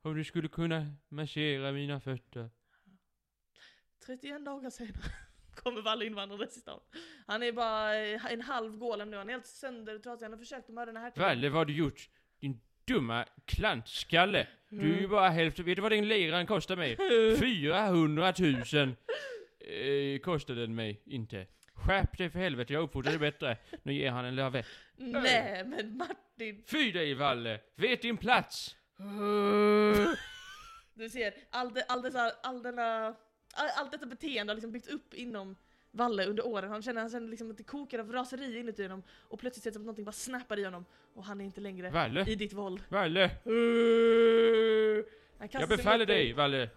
Speaker 1: om du skulle kunna massera mina fötter.
Speaker 2: 31 dagar senare <laughs> kommer Valle invandrandes i stan. Han är bara eh, en halv golem nu, han är helt söndertrasig. Han har försökt att mörda den här hertigen.
Speaker 1: Valle, vad har du gjort? Din dumma klantskalle. Du
Speaker 2: Mm.
Speaker 1: är ju bara hälften. Vet du vad den leran kostar mig? 400 000 eh, kostade den mig inte. Skärp dig för helvete, jag uppfostrar dig bättre. Nu ger han en lavett.
Speaker 2: Mm. Nej men Martin!
Speaker 1: Fy dig Valle, vet din plats!
Speaker 2: Du ser, all, de, all, dessa, all denna, all, allt detta beteende har liksom byggts upp inom Valle under åren. Han känner, han känner liksom att det kokar av raseri inuti honom. Och plötsligt ser det som att någonting bara snappar i honom. Och han är inte längre
Speaker 1: Valle,
Speaker 2: i ditt våld.
Speaker 1: Valle,
Speaker 2: Han kastar
Speaker 1: jag
Speaker 2: sig
Speaker 1: befaller
Speaker 2: mot dig.
Speaker 1: dig Valle.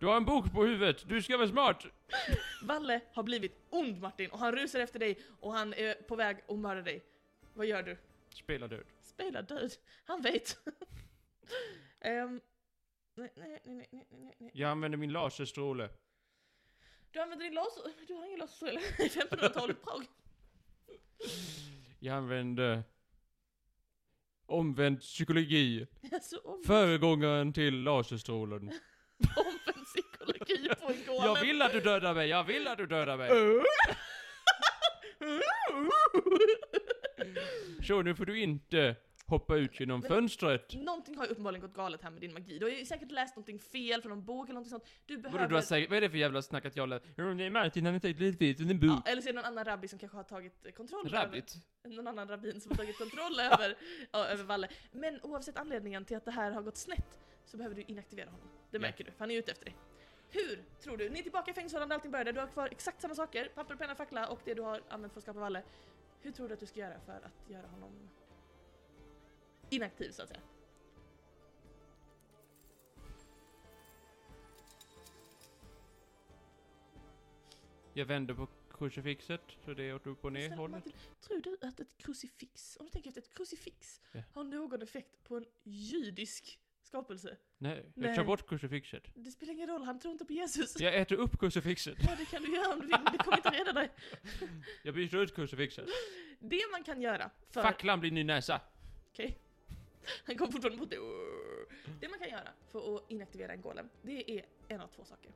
Speaker 1: Du har en bok på huvudet, du ska vara smart.
Speaker 2: Valle har blivit ond Martin och han rusar efter dig och han är på väg att mörda dig. Vad gör du?
Speaker 1: Spela död.
Speaker 2: Spela död. Han vet. <laughs> Ehm, nej, nej, nej, nej, nej, nej, nej.
Speaker 1: Jag använder min laserstråle.
Speaker 2: Du använder din laser... Du har ingen laser eller? <laughs> 1500-talet Prag.
Speaker 1: Jag använder omvänd psykologi.
Speaker 2: Alltså om,
Speaker 1: Föregångaren till laserstrålen.
Speaker 2: omvänd psykologi på en golem.
Speaker 1: Jag vill att du dödar mig, jag vill att du dödar mig.
Speaker 2: Öh.
Speaker 1: Så nu får du inte hoppa ut genom fönstret.
Speaker 2: Någonting har ju uppenbarligen gått galet här med din magi. Du har ju säkert läst någonting fel från någon bok eller någonting sånt. Du behöver...
Speaker 1: Vadå, du har sagt, vad är det för jävla snack att jag lät? Jo, det är Martin, han har tagit lite bit ur en bok.
Speaker 2: ja, eller så är det någon annan rabbi som kanske har tagit eh, kontroll över...
Speaker 1: Rabbit.
Speaker 2: någon annan rabbin som har
Speaker 1: <laughs>
Speaker 2: tagit kontroll över, ja, över Valle. Men oavsett anledningen till att det här har gått snett så behöver du inaktivera honom. Det
Speaker 1: Ja.
Speaker 2: märker du, för han är ute efter dig. Hur tror du? Ni är tillbaka i fängelsehålan där allting började, du har kvar exakt samma saker, papper, penna, fackla och det du har använt för att skapa Valle. Hur tror du att du ska göra för att göra honom inaktiv så att säga?
Speaker 1: Jag vänder på krucifixet, så det är åt upp och ner
Speaker 2: Snälla
Speaker 1: hållet.
Speaker 2: Martin, Tror du att ett krucifix, om du tänker efter ett krucifix,
Speaker 1: Ja.
Speaker 2: har någon effekt på en judisk skapelse?
Speaker 1: Nej,
Speaker 2: Nej.
Speaker 1: jag tar bort krucifixet.
Speaker 2: Det spelar ingen roll, han tror inte på Jesus.
Speaker 1: Jag äter upp krucifixet.
Speaker 2: Ja, det kan du göra om du vill, men det kommer inte rädda dig.
Speaker 1: Jag byter ut krucifixet.
Speaker 2: Det man kan göra för... <laughs>
Speaker 1: Facklan blir ny näsa.
Speaker 2: Okej. Han kom fortfarande på det. Det man kan göra för att inaktivera en golem, det är en av två saker.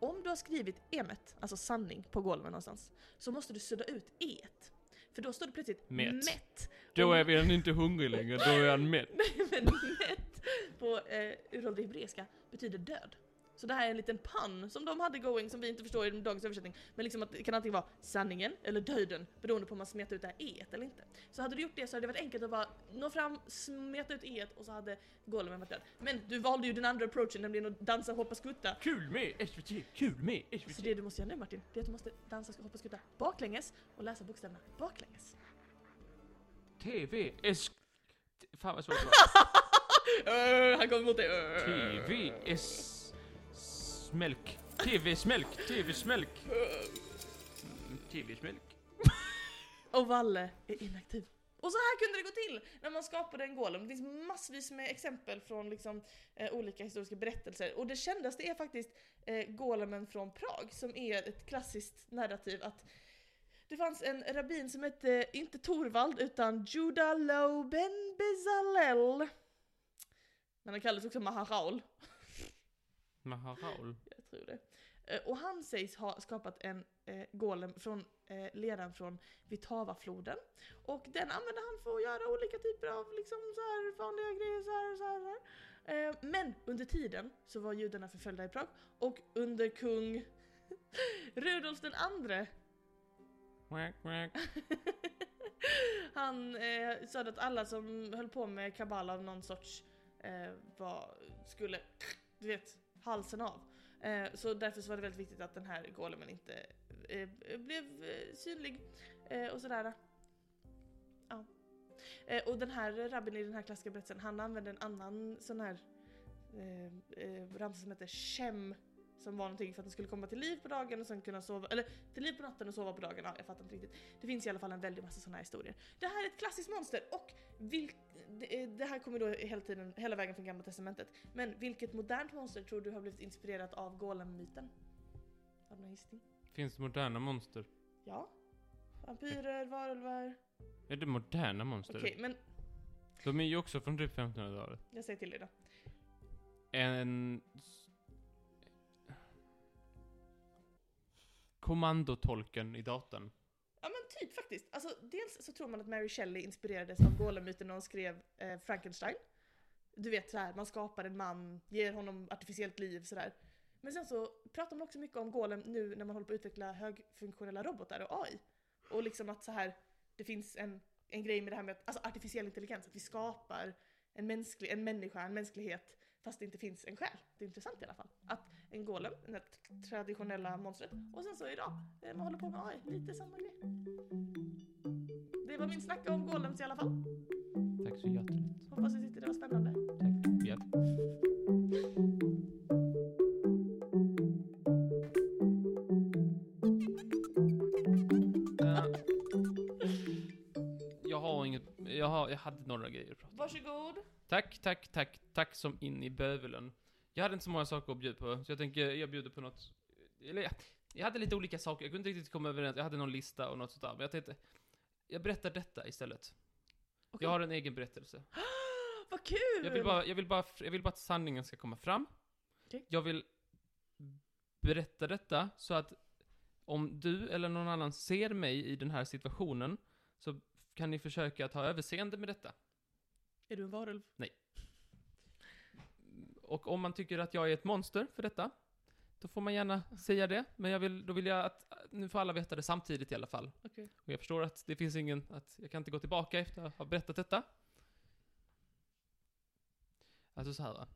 Speaker 2: Om du har skrivit emet, alltså sanning, på golven någonstans, så måste du sudda ut et. För då står det plötsligt
Speaker 1: Met.
Speaker 2: mätt.
Speaker 1: Då är vi han inte hungrig längre, då är han mätt.
Speaker 2: Nej <laughs> men mätt på eh, uråldrig hebreiska betyder död. Så det här är en liten pun som de hade going som vi inte förstår i dagens översättning. Men liksom att det kan antingen vara sanningen eller döden beroende på om man smetar ut det här e eller inte. Så hade du gjort det så hade det varit enkelt att bara nå fram, smeta ut e och så hade golemen varit död. Men du valde ju den andra approachen nämligen att dansa, hoppa, skutta.
Speaker 1: Kul med SVT, kul med
Speaker 2: Så
Speaker 1: SVT.
Speaker 2: det du måste göra nu Martin, det är att du måste dansa, hoppa, skutta baklänges och läsa bokstäverna baklänges.
Speaker 1: TV, S... Fan vad svårt det var.
Speaker 2: Öh, han kommer mot dig. Öh.
Speaker 1: TV, S... Smälk. TV, smälk, TV, smälk.
Speaker 3: Mm,
Speaker 1: TV, smälk.
Speaker 2: Och Valle är inaktiv. Och så här kunde det gå till när man skapade en golem. Det finns massvis med exempel från liksom, eh, olika historiska berättelser. Och det kändaste är faktiskt eh, golemen från Prag som är ett klassiskt narrativ att det fanns en rabbin som hette, inte Torvald, utan Judalo Ben Bezalel. Men han kallades också Maharaul.
Speaker 3: Maharaul.
Speaker 2: Jag tror det. Eh, Och han sägs ha skapat en eh, golem från eh, leran från Vitavafloden. Och den använde han för att göra olika typer av liksom, så här, vanliga grejer. Så här, så här, så här. Eh, men under tiden så var judarna förföljda i Prag och under kung <laughs> Rudolf den andre
Speaker 3: Quack, quack.
Speaker 2: han eh, sa att alla som höll på med kabbala av någon sorts eh, var, skulle, du vet, halsen av. Eh, så därför så var det väldigt viktigt att den här golemen inte eh, blev eh, synlig eh, och sådär. Ja. Eh, och den här rabbin i den här klassiska berättelsen, han använde en annan sån här eh, eh, ramsa som heter Shem som var någonting för att den skulle komma till liv på dagen och sen kunna sova, eller till liv på natten och sova på dagen. Ja, jag fattar inte riktigt. Det finns i alla fall en väldig massa sådana här historier. Det här är ett klassiskt monster och vilk, det, eh, det här kommer då hela, tiden, hela vägen från Gamla Testamentet. Men vilket modernt monster tror du har blivit inspirerat av Golem-myten? Har du någon gissning?
Speaker 3: Finns det moderna monster?
Speaker 2: Ja? Vampyrer, varulvar?
Speaker 3: Är det moderna monster?
Speaker 2: Okej, men
Speaker 3: De är ju också från typ 1500-talet.
Speaker 2: jag säger till dig då.
Speaker 3: En... Kommandotolken i datorn.
Speaker 2: Ja men typ faktiskt. Alltså dels så tror man att Mary Shelley inspirerades av Golem-myten när hon skrev eh, Frankenstein. Du vet så här, man skapar en man, ger honom artificiellt liv sådär. Men sen så pratar man också mycket om Golem nu när man håller på att utveckla högfunktionella robotar och AI. Och liksom att så här, det finns en, en grej med det här med att, alltså artificiell intelligens, att vi skapar en, mänsklig, en människa, en mänsklighet fast det inte finns en själ. Det är intressant i alla fall. Att en Golem, det här traditionella monstret, och sen så idag, eh, man håller på med AI, lite samma grej. Det var min snack om golems i alla fall.
Speaker 3: Tack så hjärtligt.
Speaker 2: Hoppas ni tyckte det var spännande.
Speaker 3: Tack. Ja. Äh. Jag har inget, jag, har, jag hade några grejer att prata om.
Speaker 2: Varsågod.
Speaker 3: Tack, tack, tack, tack som in i bövelen. Jag hade inte så många saker att bjuda på, så jag tänker, jag bjuder på något. Eller ja, jag hade lite olika saker, jag kunde inte riktigt komma överens, jag hade någon lista och något sånt där, men jag tänkte, jag berättar detta istället.
Speaker 2: Okej.
Speaker 3: Jag har en egen berättelse.
Speaker 2: Vad kul!
Speaker 3: Jag vill bara, jag vill bara, jag vill bara att sanningen ska komma fram.
Speaker 2: Okej.
Speaker 3: Jag vill berätta detta så att om du eller någon annan ser mig i den här situationen så kan ni försöka ta överseende med detta.
Speaker 2: Är du en varulv?
Speaker 3: Och om man tycker att jag är ett monster för detta, då får man gärna säga det. Men jag vill, då vill jag att, nu får alla veta det samtidigt i alla fall.
Speaker 2: Okej.
Speaker 3: Och jag förstår att det finns ingen, att jag kan inte gå tillbaka efter att ha berättat detta. Alltså så här va.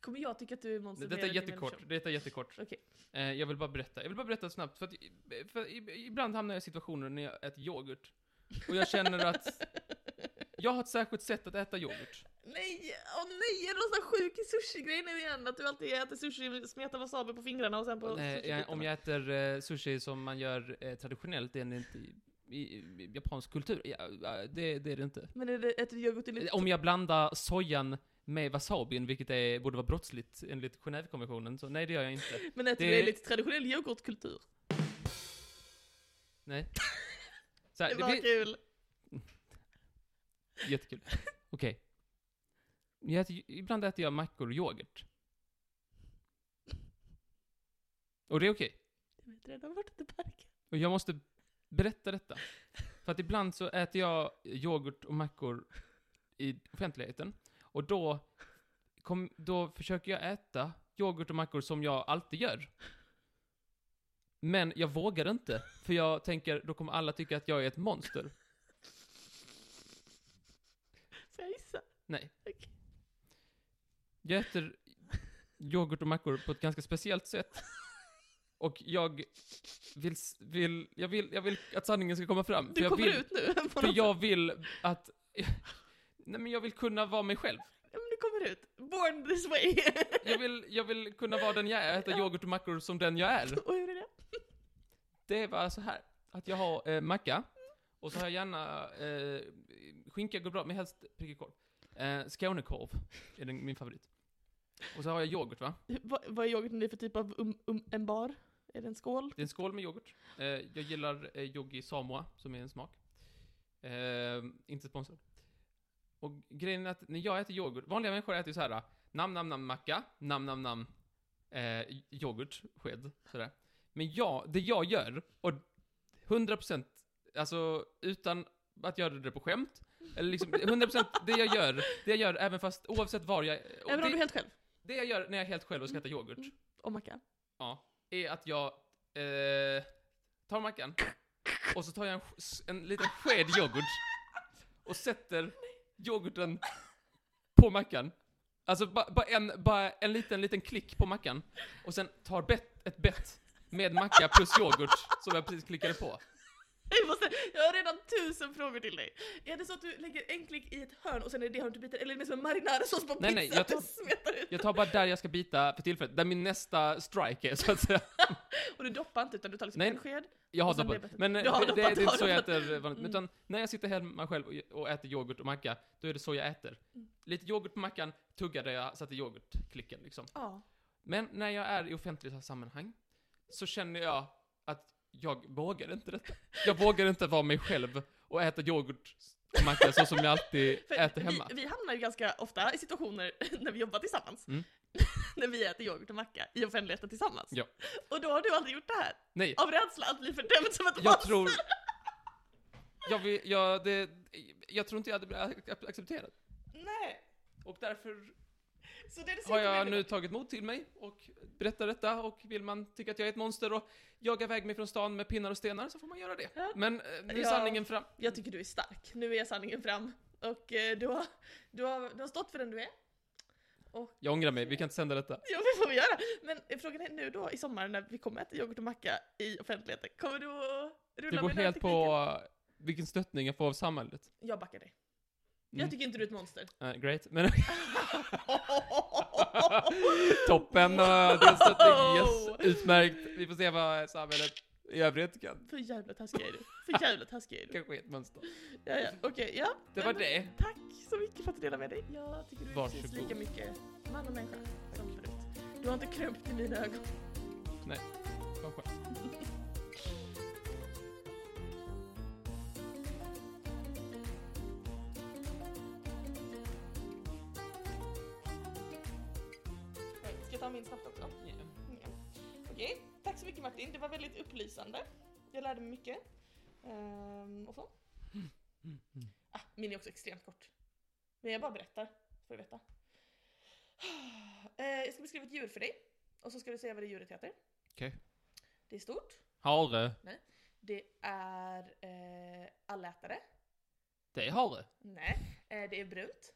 Speaker 2: Kommer jag tycka att du är monster
Speaker 3: Detta
Speaker 2: mer än
Speaker 3: är
Speaker 2: din
Speaker 3: jättekort,
Speaker 2: människa?
Speaker 3: detta är jättekort.
Speaker 2: Okej.
Speaker 3: Eh, jag vill bara berätta, jag vill bara berätta snabbt, för att i- för i- ibland hamnar jag i situationer när jag äter yoghurt. Och jag känner att jag har ett särskilt sätt att äta yoghurt.
Speaker 2: <laughs> Nej! Åh nej! Är det någon sån här sjuk sushi-grej nu igen? Att du alltid äter sushi, smetar wasabi på fingrarna och sen på
Speaker 3: Nej, jag, om
Speaker 2: sushi-bitarna?
Speaker 3: jag äter eh, sushi som man gör eh, traditionellt, det är inte i, i, i japansk kultur. Ja, ja, det, det är det inte.
Speaker 2: Men är det, äter du yoghurt till
Speaker 3: Eh, Om jag blandar sojan med wasabin, vilket är, borde vara brottsligt enligt Genèvekonventionen, så nej det gör jag inte.
Speaker 2: Men äter
Speaker 3: det-
Speaker 2: du enligt traditionell yoghurtkultur?
Speaker 3: Nej. Så här,
Speaker 2: Det
Speaker 3: det
Speaker 2: var
Speaker 3: blir
Speaker 2: kul!
Speaker 3: jättekul. Okej. Jag äter, ibland äter jag mackor och yoghurt. Och det är okej.
Speaker 2: Jag vet redan vart det barkar.
Speaker 3: Och jag måste berätta detta. För att ibland så äter jag yoghurt och mackor i offentligheten. Och då, kom, då försöker jag äta yoghurt och mackor som jag alltid gör. Men jag vågar inte, för jag tänker då kommer alla tycka att jag är ett monster.
Speaker 2: Får jag gissa?
Speaker 3: Nej.
Speaker 2: Okej.
Speaker 3: Jag äter yoghurt och mackor på ett ganska speciellt sätt. Och jag vill, s- vill, jag vill, jag vill att sanningen ska komma fram.
Speaker 2: Du
Speaker 3: jag
Speaker 2: kommer
Speaker 3: vill,
Speaker 2: ut nu. på
Speaker 3: För
Speaker 2: något
Speaker 3: jag vill att... <laughs> Nej men jag vill kunna vara mig själv.
Speaker 2: Ja, men det kommer ut. Born this way. <laughs>
Speaker 3: Jag vill, jag vill kunna vara den jag är, äta yoghurt och mackor som den jag är.
Speaker 2: Och hur är det?
Speaker 3: Det var så här, att jag har eh, macka, Och så har jag gärna, eh, skinka går bra, men helst prickig korv. Eh, Skånekorv är den, min favorit. Och så har jag yoghurt va?
Speaker 2: Vad, vad är yoghurten det för typ av um, um, en bar? Är det en skål?
Speaker 3: Det är en skål med yoghurt. Eh, jag gillar eh, Yogi Samoa, som är en smak. Eh, inte sponsrad. Och grejen är att när jag äter yoghurt, vanliga människor äter ju så här, nam nam nam macka, nam nam nam eh, yoghurt, sked, sådär. Men jag, det jag gör, och 100%, alltså utan att göra det på skämt, eller liksom 100% det jag gör, det jag gör även fast oavsett var jag... och
Speaker 2: Även om du är
Speaker 3: det,
Speaker 2: helt själv?
Speaker 3: det jag gör när jag är helt själv och ska äta yoghurt,
Speaker 2: Och macka?
Speaker 3: Ja. Är att jag eh, tar mackan och så tar jag en, sk- s- en liten sked yoghurt och sätter yoghurten på mackan. Alltså bara ba en, ba en liten, liten klick på mackan. Och sen tar bett, ett bett med macka plus yoghurt som jag precis klickade på.
Speaker 2: <laughs> Jag, måste, jag har redan tusen frågor till dig. Är det så att du lägger en klick i ett hörn och sen är det det hörnet du biter? Eller är det som en marinadesås på
Speaker 3: Nej,
Speaker 2: pizza
Speaker 3: nej, jag
Speaker 2: och
Speaker 3: tar-
Speaker 2: smetar ut?
Speaker 3: Jag tar bara där jag ska bita för tillfället, där min nästa strike är så att säga.
Speaker 2: Och du doppar inte utan du tar liksom
Speaker 3: Nej.
Speaker 2: en sked?
Speaker 3: Jag har
Speaker 2: Och sen blir
Speaker 3: doppat.
Speaker 2: det bättre.
Speaker 3: Men eh,
Speaker 2: Du har
Speaker 3: det, det, det är
Speaker 2: doppat,
Speaker 3: inte
Speaker 2: har
Speaker 3: så jag
Speaker 2: doppat.
Speaker 3: äter vanligt.
Speaker 2: Mm.
Speaker 3: Utan när jag sitter hemma själv och- och äter yoghurt och macka, då är det så jag äter.
Speaker 2: Mm.
Speaker 3: Lite yoghurt på mackan, tuggar där jag satte yoghurtklicken liksom.
Speaker 2: Ja.
Speaker 3: Men när jag är i offentliga sammanhang så känner jag att jag vågar inte detta. Jag vågar inte vara mig själv och äta yoghurt och macka så som jag alltid
Speaker 2: <laughs> För
Speaker 3: äter hemma.
Speaker 2: Vi, vi hamnar ju ganska ofta i situationer <laughs> när vi jobbar tillsammans.
Speaker 3: Mm.
Speaker 2: <laughs> när vi äter yoghurt och macka i offentligheten tillsammans.
Speaker 3: Ja.
Speaker 2: Och då har du aldrig gjort det här.
Speaker 3: Nej,
Speaker 2: Av rädsla att bli fördömd som ett
Speaker 3: jag
Speaker 2: as.
Speaker 3: tror... Jag, vill, jag, det, jag tror inte jag hade blivit ac- accepterad.
Speaker 2: Nej.
Speaker 3: Och därför
Speaker 2: Så det är det
Speaker 3: har
Speaker 2: sista
Speaker 3: jag
Speaker 2: vi-
Speaker 3: nu tagit mod till mig och berättar detta och vill man tycka att jag är ett monster och jaga iväg mig från stan med pinnar och stenar så får man göra det.
Speaker 2: Ja.
Speaker 3: Men eh, nu är
Speaker 2: Ja.
Speaker 3: sanningen fram.
Speaker 2: Jag tycker du är stark. Nu är sanningen fram. Och eh, du har, du, har, du har stått för den du är.
Speaker 3: Jag ångrar mig, vi kan inte sända detta.
Speaker 2: Ja, det får vi göra. Men eh, frågan är nu då i sommar när vi kommer äta yoghurt och macka i offentligheten. Kommer du att rulla
Speaker 3: Det
Speaker 2: med
Speaker 3: går
Speaker 2: den här
Speaker 3: helt
Speaker 2: tekniken?
Speaker 3: på vilken stöttning jag får av samhället.
Speaker 2: Jag backar dig.
Speaker 3: Mm.
Speaker 2: Jag tycker inte du är ett monster.
Speaker 3: Eh, great, men <laughs> toppen eh, och din <laughs> stöttning, yes, utmärkt. Vi får se vad samhället i övrigt kan.
Speaker 2: För jävla taskig är du. För jävla taskig är du.
Speaker 3: Kanske är ett mönster.
Speaker 2: Ja, ja. Okej, ja.
Speaker 3: Det var
Speaker 2: Men
Speaker 3: det.
Speaker 2: Tack så mycket för att du delade med dig. Jag tycker du är precis
Speaker 3: Varsågod.
Speaker 2: lika mycket man och människa som förut. Du har inte krympt i mina ögon.
Speaker 3: Kanske.
Speaker 2: Ska jag ta min snabbt också? Ja. Okej, tack så mycket Martin. Det var väldigt upplysande. Jag lärde mig mycket. Ehm, och så. Ah, min är också extremt kort. Men jag bara berättar, så får du veta. <sighs> Eh, jag ska beskriva ett djur för dig. Och så ska du säga vad det djuret heter.
Speaker 3: Okej.
Speaker 2: Det är stort.
Speaker 3: Hare.
Speaker 2: Det är eh, allätare.
Speaker 3: Det är hare.
Speaker 2: Nej. Eh, det är brunt.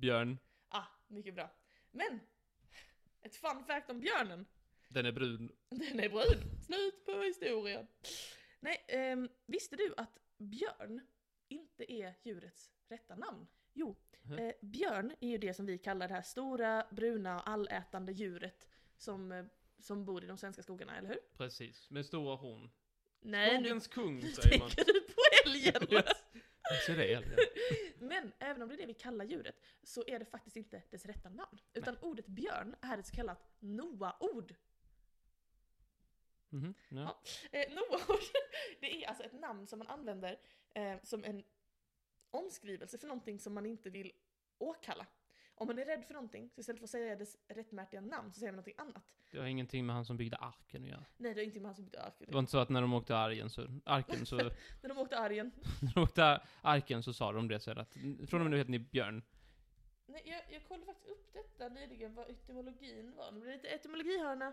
Speaker 3: Björn.
Speaker 2: Ah, mycket bra. Men! Ett fun fact om björnen.
Speaker 3: Den är brun.
Speaker 2: Den är brun. Slut på historien. Nej, ehm, visste du att björn inte är djurets rätta namn? Jo,
Speaker 3: Mhm.
Speaker 2: eh, björn är ju det som vi kallar det här stora, bruna, allätande djuret som, eh, som bor i de svenska skogarna, eller hur?
Speaker 3: Precis. Med stora horn.
Speaker 2: Nej, <laughs> nu
Speaker 3: Skogens kung, säger man.
Speaker 2: tänker du på
Speaker 3: <laughs>
Speaker 2: älgen!
Speaker 3: Yes. Ser
Speaker 2: <laughs>
Speaker 3: det älgen?
Speaker 2: Men även om det är det vi kallar djuret så är det faktiskt inte dess rätta namn. Utan ordet björn är ett så kallat Noa-ord.
Speaker 3: Mhm, ja.
Speaker 2: Ja. Eh, <laughs> Noa-ord, det är alltså ett namn som man använder eh, som en omskrivelse för någonting som man inte vill åkalla. Om man är rädd för någonting, så istället för att säga dess rättmätiga namn så säger man någonting annat.
Speaker 3: Det har ingenting med han som byggde arken att göra.
Speaker 2: Nej, det är inte med han som byggde arken.
Speaker 3: Det var inte så att när de åkte arken så,
Speaker 2: <laughs>
Speaker 3: arken så, när
Speaker 2: När de åkte argen.
Speaker 3: de åkte arken så sa de det så här att från och med nu heter ni björn.
Speaker 2: Nej, jag, jag kollade faktiskt upp detta nyligen, vad etymologin var. Nu blir det lite etymologihörna.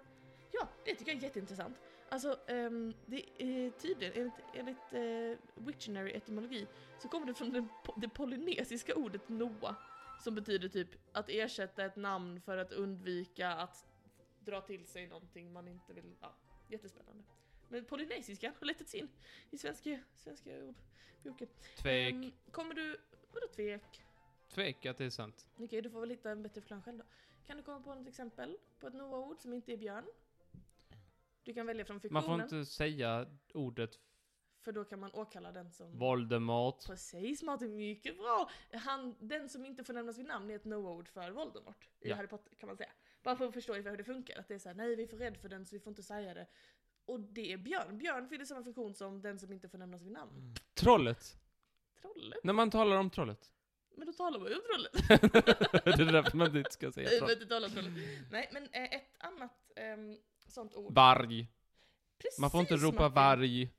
Speaker 2: Ja, det tycker jag är jätteintressant. Alltså, ehm, det är tydligen, enligt, enligt eh, Wiktionary etymologi, så kommer det från den, po- det polynesiska ordet noa, som betyder typ att ersätta ett namn för att undvika att dra till sig någonting man inte vill. Ja, jättespännande. Men polynesiska har letats in i svenska, svenska ordboken.
Speaker 3: Tvek,
Speaker 2: Ehm, kommer du... Vadå tvek?
Speaker 3: tvek att det är sant.
Speaker 2: Okej, du får väl hitta en bättre förklaring själv då. Kan du komma på något exempel på ett Noa-ord som inte är björn? Du kan välja från
Speaker 3: Man
Speaker 2: fiktionen.
Speaker 3: får inte säga ordet
Speaker 2: För då kan man åkalla den som...
Speaker 3: Voldemort.
Speaker 2: Precis Martin, mycket bra! Han, den som inte får nämnas vid namn är ett no-ord för Voldemort i
Speaker 3: Ja.
Speaker 2: Harry Potter kan man säga. Bara för att förstå ungefär hur det funkar, att det är såhär nej vi är för rädd för den så vi får inte säga det. Och det är Björn, Björn fyller samma funktion som den som inte får nämnas vid namn.
Speaker 3: Mm. Trollet.
Speaker 2: Trollet?
Speaker 3: När man talar om trollet.
Speaker 2: Men då talar man ju om trollet.
Speaker 3: <laughs> det är därför man inte ska säga
Speaker 2: Nej,
Speaker 3: troll.
Speaker 2: men inte talar om trollet. Nej men eh, ett annat ehm, sånt ord.
Speaker 3: Varg.
Speaker 2: Precis,
Speaker 3: Man får inte ropa
Speaker 2: Martin.
Speaker 3: varg.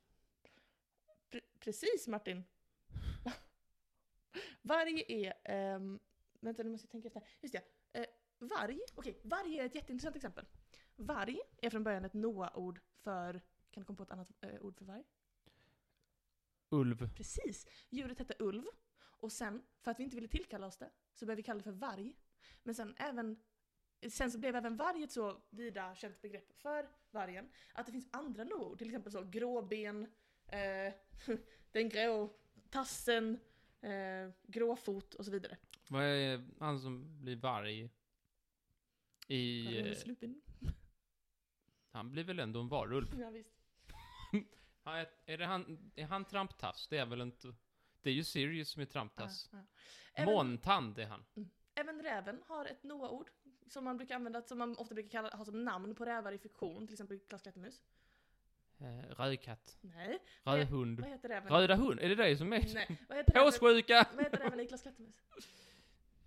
Speaker 2: Pre- precis Martin. <laughs> varg är... ehm, vänta nu måste jag tänka efter. Just det. Eh, varg. Okej, varg är ett jätteintressant exempel. Varg är från början ett Noa-ord för... Kan du komma på ett annat eh, ord för varg?
Speaker 3: Ulv.
Speaker 2: Precis. Djuret hette ulv. Och sen, för att vi inte ville tillkalla oss det, så började vi kalla det för varg. Men sen även... Sen så blev även varg ett så vida känt begrepp för vargen att det finns andra noor, till exempel så gråben, eh, <laughs> den grå tassen, eh, gråfot och så vidare.
Speaker 3: Vad är han som blir varg? I...
Speaker 2: Yeah.
Speaker 3: eh,
Speaker 2: Slupin.
Speaker 3: Han blir väl ändå en varulv?
Speaker 2: <laughs> Ja, visst.
Speaker 3: Han är, är, det han, är han tramptass? Det är väl inte... Det är ju Sirius som är
Speaker 2: Ja,
Speaker 3: tramptass.
Speaker 2: ja. Även,
Speaker 3: Måntand är han.
Speaker 2: även räven har ett noa-ord som man brukar använda, som man ofta brukar kalla, ha som namn på rävar i fiktion, till exempel Klas Klättermus.
Speaker 3: Eh, rödkatt.
Speaker 2: Nej,
Speaker 3: Röd hund.
Speaker 2: vad heter räven?
Speaker 3: Röda hund? Är det dig <laughs> som är?
Speaker 2: Nej, vad heter räven?
Speaker 3: Påssjuka!
Speaker 2: Vad heter räven i Klas Klättermus?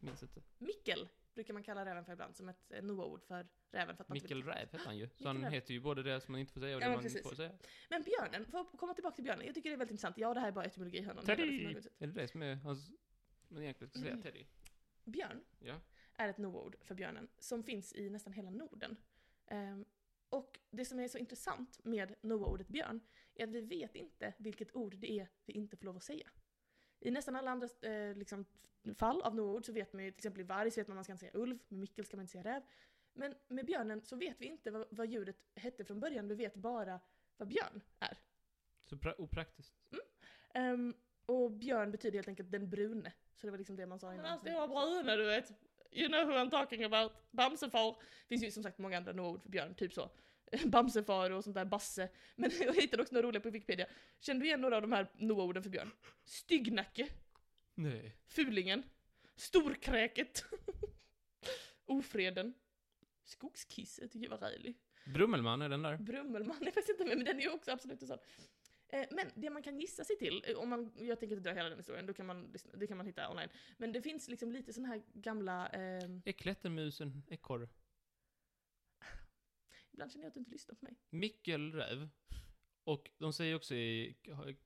Speaker 3: Minns inte.
Speaker 2: Mickel brukar man kalla räven för ibland, som ett eh, Noa-ord för räven. För att man inte
Speaker 3: Mikkel
Speaker 2: vill-
Speaker 3: Räv heter han ju. Så
Speaker 2: Mikkel
Speaker 3: han
Speaker 2: Räv.
Speaker 3: heter ju både det som man inte får säga och
Speaker 2: Ja,
Speaker 3: det
Speaker 2: men
Speaker 3: man
Speaker 2: precis.
Speaker 3: får säga.
Speaker 2: Men björnen, för att komma tillbaka till björnen, jag tycker det är väldigt intressant. Ja, det här är bara etymologihörnan. det är väldigt
Speaker 3: Teddy!
Speaker 2: förnöjligt.
Speaker 3: Är det det som är hans... Man egentligen ska säga
Speaker 2: Mm.
Speaker 3: Teddy.
Speaker 2: Björn
Speaker 3: Ja.
Speaker 2: är ett Noa-ord för björnen som finns i nästan hela Norden. Ehm, och det som är så intressant med Noa-ordet björn är att vi vet inte vilket ord det är vi inte får lov att säga. I nästan alla andra eh, liksom, fall av Noa-ord så vet man ju, till exempel i varg så vet man att man ska inte säga ulv, med mickel ska man inte säga räv. Men med björnen så vet vi inte vad, vad djuret hette från början, vi vet bara vad björn är.
Speaker 3: Så pra-
Speaker 2: <laughs>
Speaker 3: opraktiskt.
Speaker 2: Ehm, och björn betyder helt enkelt den brune. Så det var liksom det man sa
Speaker 1: Men
Speaker 2: innan.
Speaker 1: han stora bruna du vet.
Speaker 2: You know who I'm talking about. Bamsefar. Det finns ju som sagt många andra några ord för björn, typ så. <laughs> Bamsefar och sånt där, basse. Men <laughs> jag hittade också några roliga på Wikipedia. Känner du igen några av de här Noa-orden för björn? Styggnacke,
Speaker 3: Nej.
Speaker 2: Fulingen, Storkräket, <laughs> Ofreden, Skogskisse tycker jag var rälig.
Speaker 3: Brummelman är den där.
Speaker 2: Brummelman <laughs> är faktiskt inte med, men den är ju också absolut en sån. Eh, Men det man kan gissa sig till, eh, om man, jag tänker inte dra hela den historien, då kan man, lyssna- det kan man hitta online. Men det finns liksom lite sån här gamla, eh,
Speaker 3: Är klättermusen ekorre?
Speaker 2: ibland känner jag att du inte lyssnar på mig.
Speaker 3: Mikkel Räv. Och de säger också i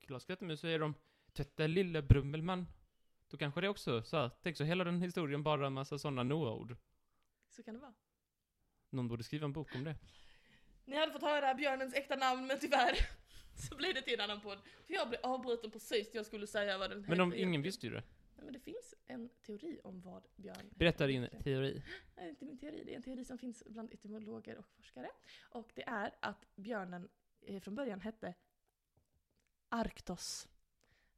Speaker 3: Klas Klättermus säger de Tvätta lilla Brummelman. Då kanske det också så här, tänk så hela den historien bara en massa sådana Noa-ord.
Speaker 2: Så kan det vara.
Speaker 3: Någon borde skriva en bok om det.
Speaker 2: Ni hade fått höra björnens äkta namn, men tyvärr <laughs> så blev det till en annan podd. För jag blev avbruten precis när jag skulle säga vad den
Speaker 3: Men om
Speaker 2: egentligen.
Speaker 3: ingen visste ju det.
Speaker 2: Nej, men det finns en teori om vad björn
Speaker 3: Berätta
Speaker 2: heter
Speaker 3: din
Speaker 2: egentligen.
Speaker 3: teori.
Speaker 2: Nej, Eh, det är inte min teori. Det är en teori som finns bland etymologer och forskare. Och det är att björnen eh, från början hette Arktos.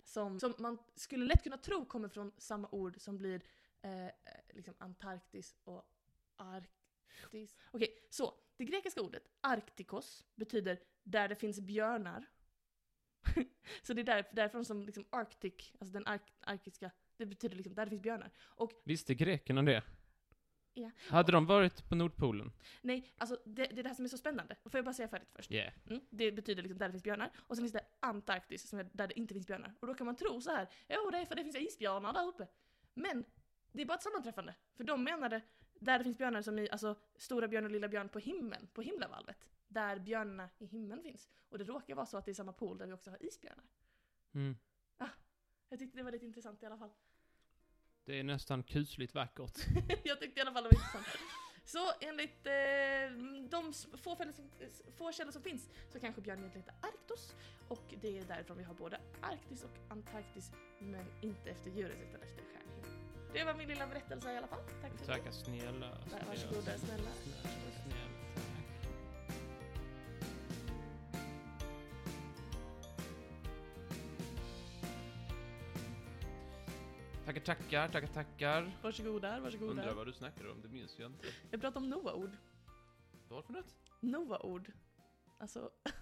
Speaker 2: Som, som man skulle lätt kunna tro kommer från samma ord som blir eh, eh, liksom Antarktis och Arktis. Okej, så det grekiska ordet Arktikos betyder där det finns björnar. <laughs> så det är där, därifrån som liksom Arctic, alltså den ark, arktiska, det betyder liksom där det finns björnar.
Speaker 3: Visste grekerna det?
Speaker 2: Ja.
Speaker 3: Hade de varit på Nordpolen?
Speaker 2: Nej, alltså det, det är det här som är så spännande. Får jag bara säga färdigt först?
Speaker 3: Yeah.
Speaker 2: Mm. Det betyder liksom där det finns björnar. Och sen finns det Antarktis som är där det inte finns björnar. Och då kan man tro så här, jo det är för det finns isbjörnar där uppe. Men det är bara ett sammanträffande. För de menade där det finns björnar som i, alltså stora björn och lilla björn på himlen, på himlavalvet. Där björnarna i himlen finns. Och det råkar vara så att det är samma pool där vi också har isbjörnar. Ah,
Speaker 3: Mm.
Speaker 2: Jag tyckte det var lite intressant i alla fall.
Speaker 3: Det är nästan kusligt vackert.
Speaker 2: jag tyckte i alla fall det var intressant. Så enligt eh, de s- få, fällor som, s- få källor som finns så kanske björnen egentligen heter Arktos och det är därifrån vi har både Arktis och Antarktis men inte efter djuret utan efter stjärnhimlen. Det var min lilla berättelse i alla fall. Tack för
Speaker 3: Tackar snälla. snälla,
Speaker 2: Varsågoda snälla.
Speaker 3: snälla, snälla, tack. Tackar, tackar, tackar, tackar.
Speaker 2: Varsågoda,
Speaker 3: Undrar
Speaker 2: varsågoda.
Speaker 3: vad du snackar om, det minns jag inte.
Speaker 2: Jag pratade om Noa-ord.
Speaker 3: Vad för något?
Speaker 2: Noa-ord. Alltså, <laughs>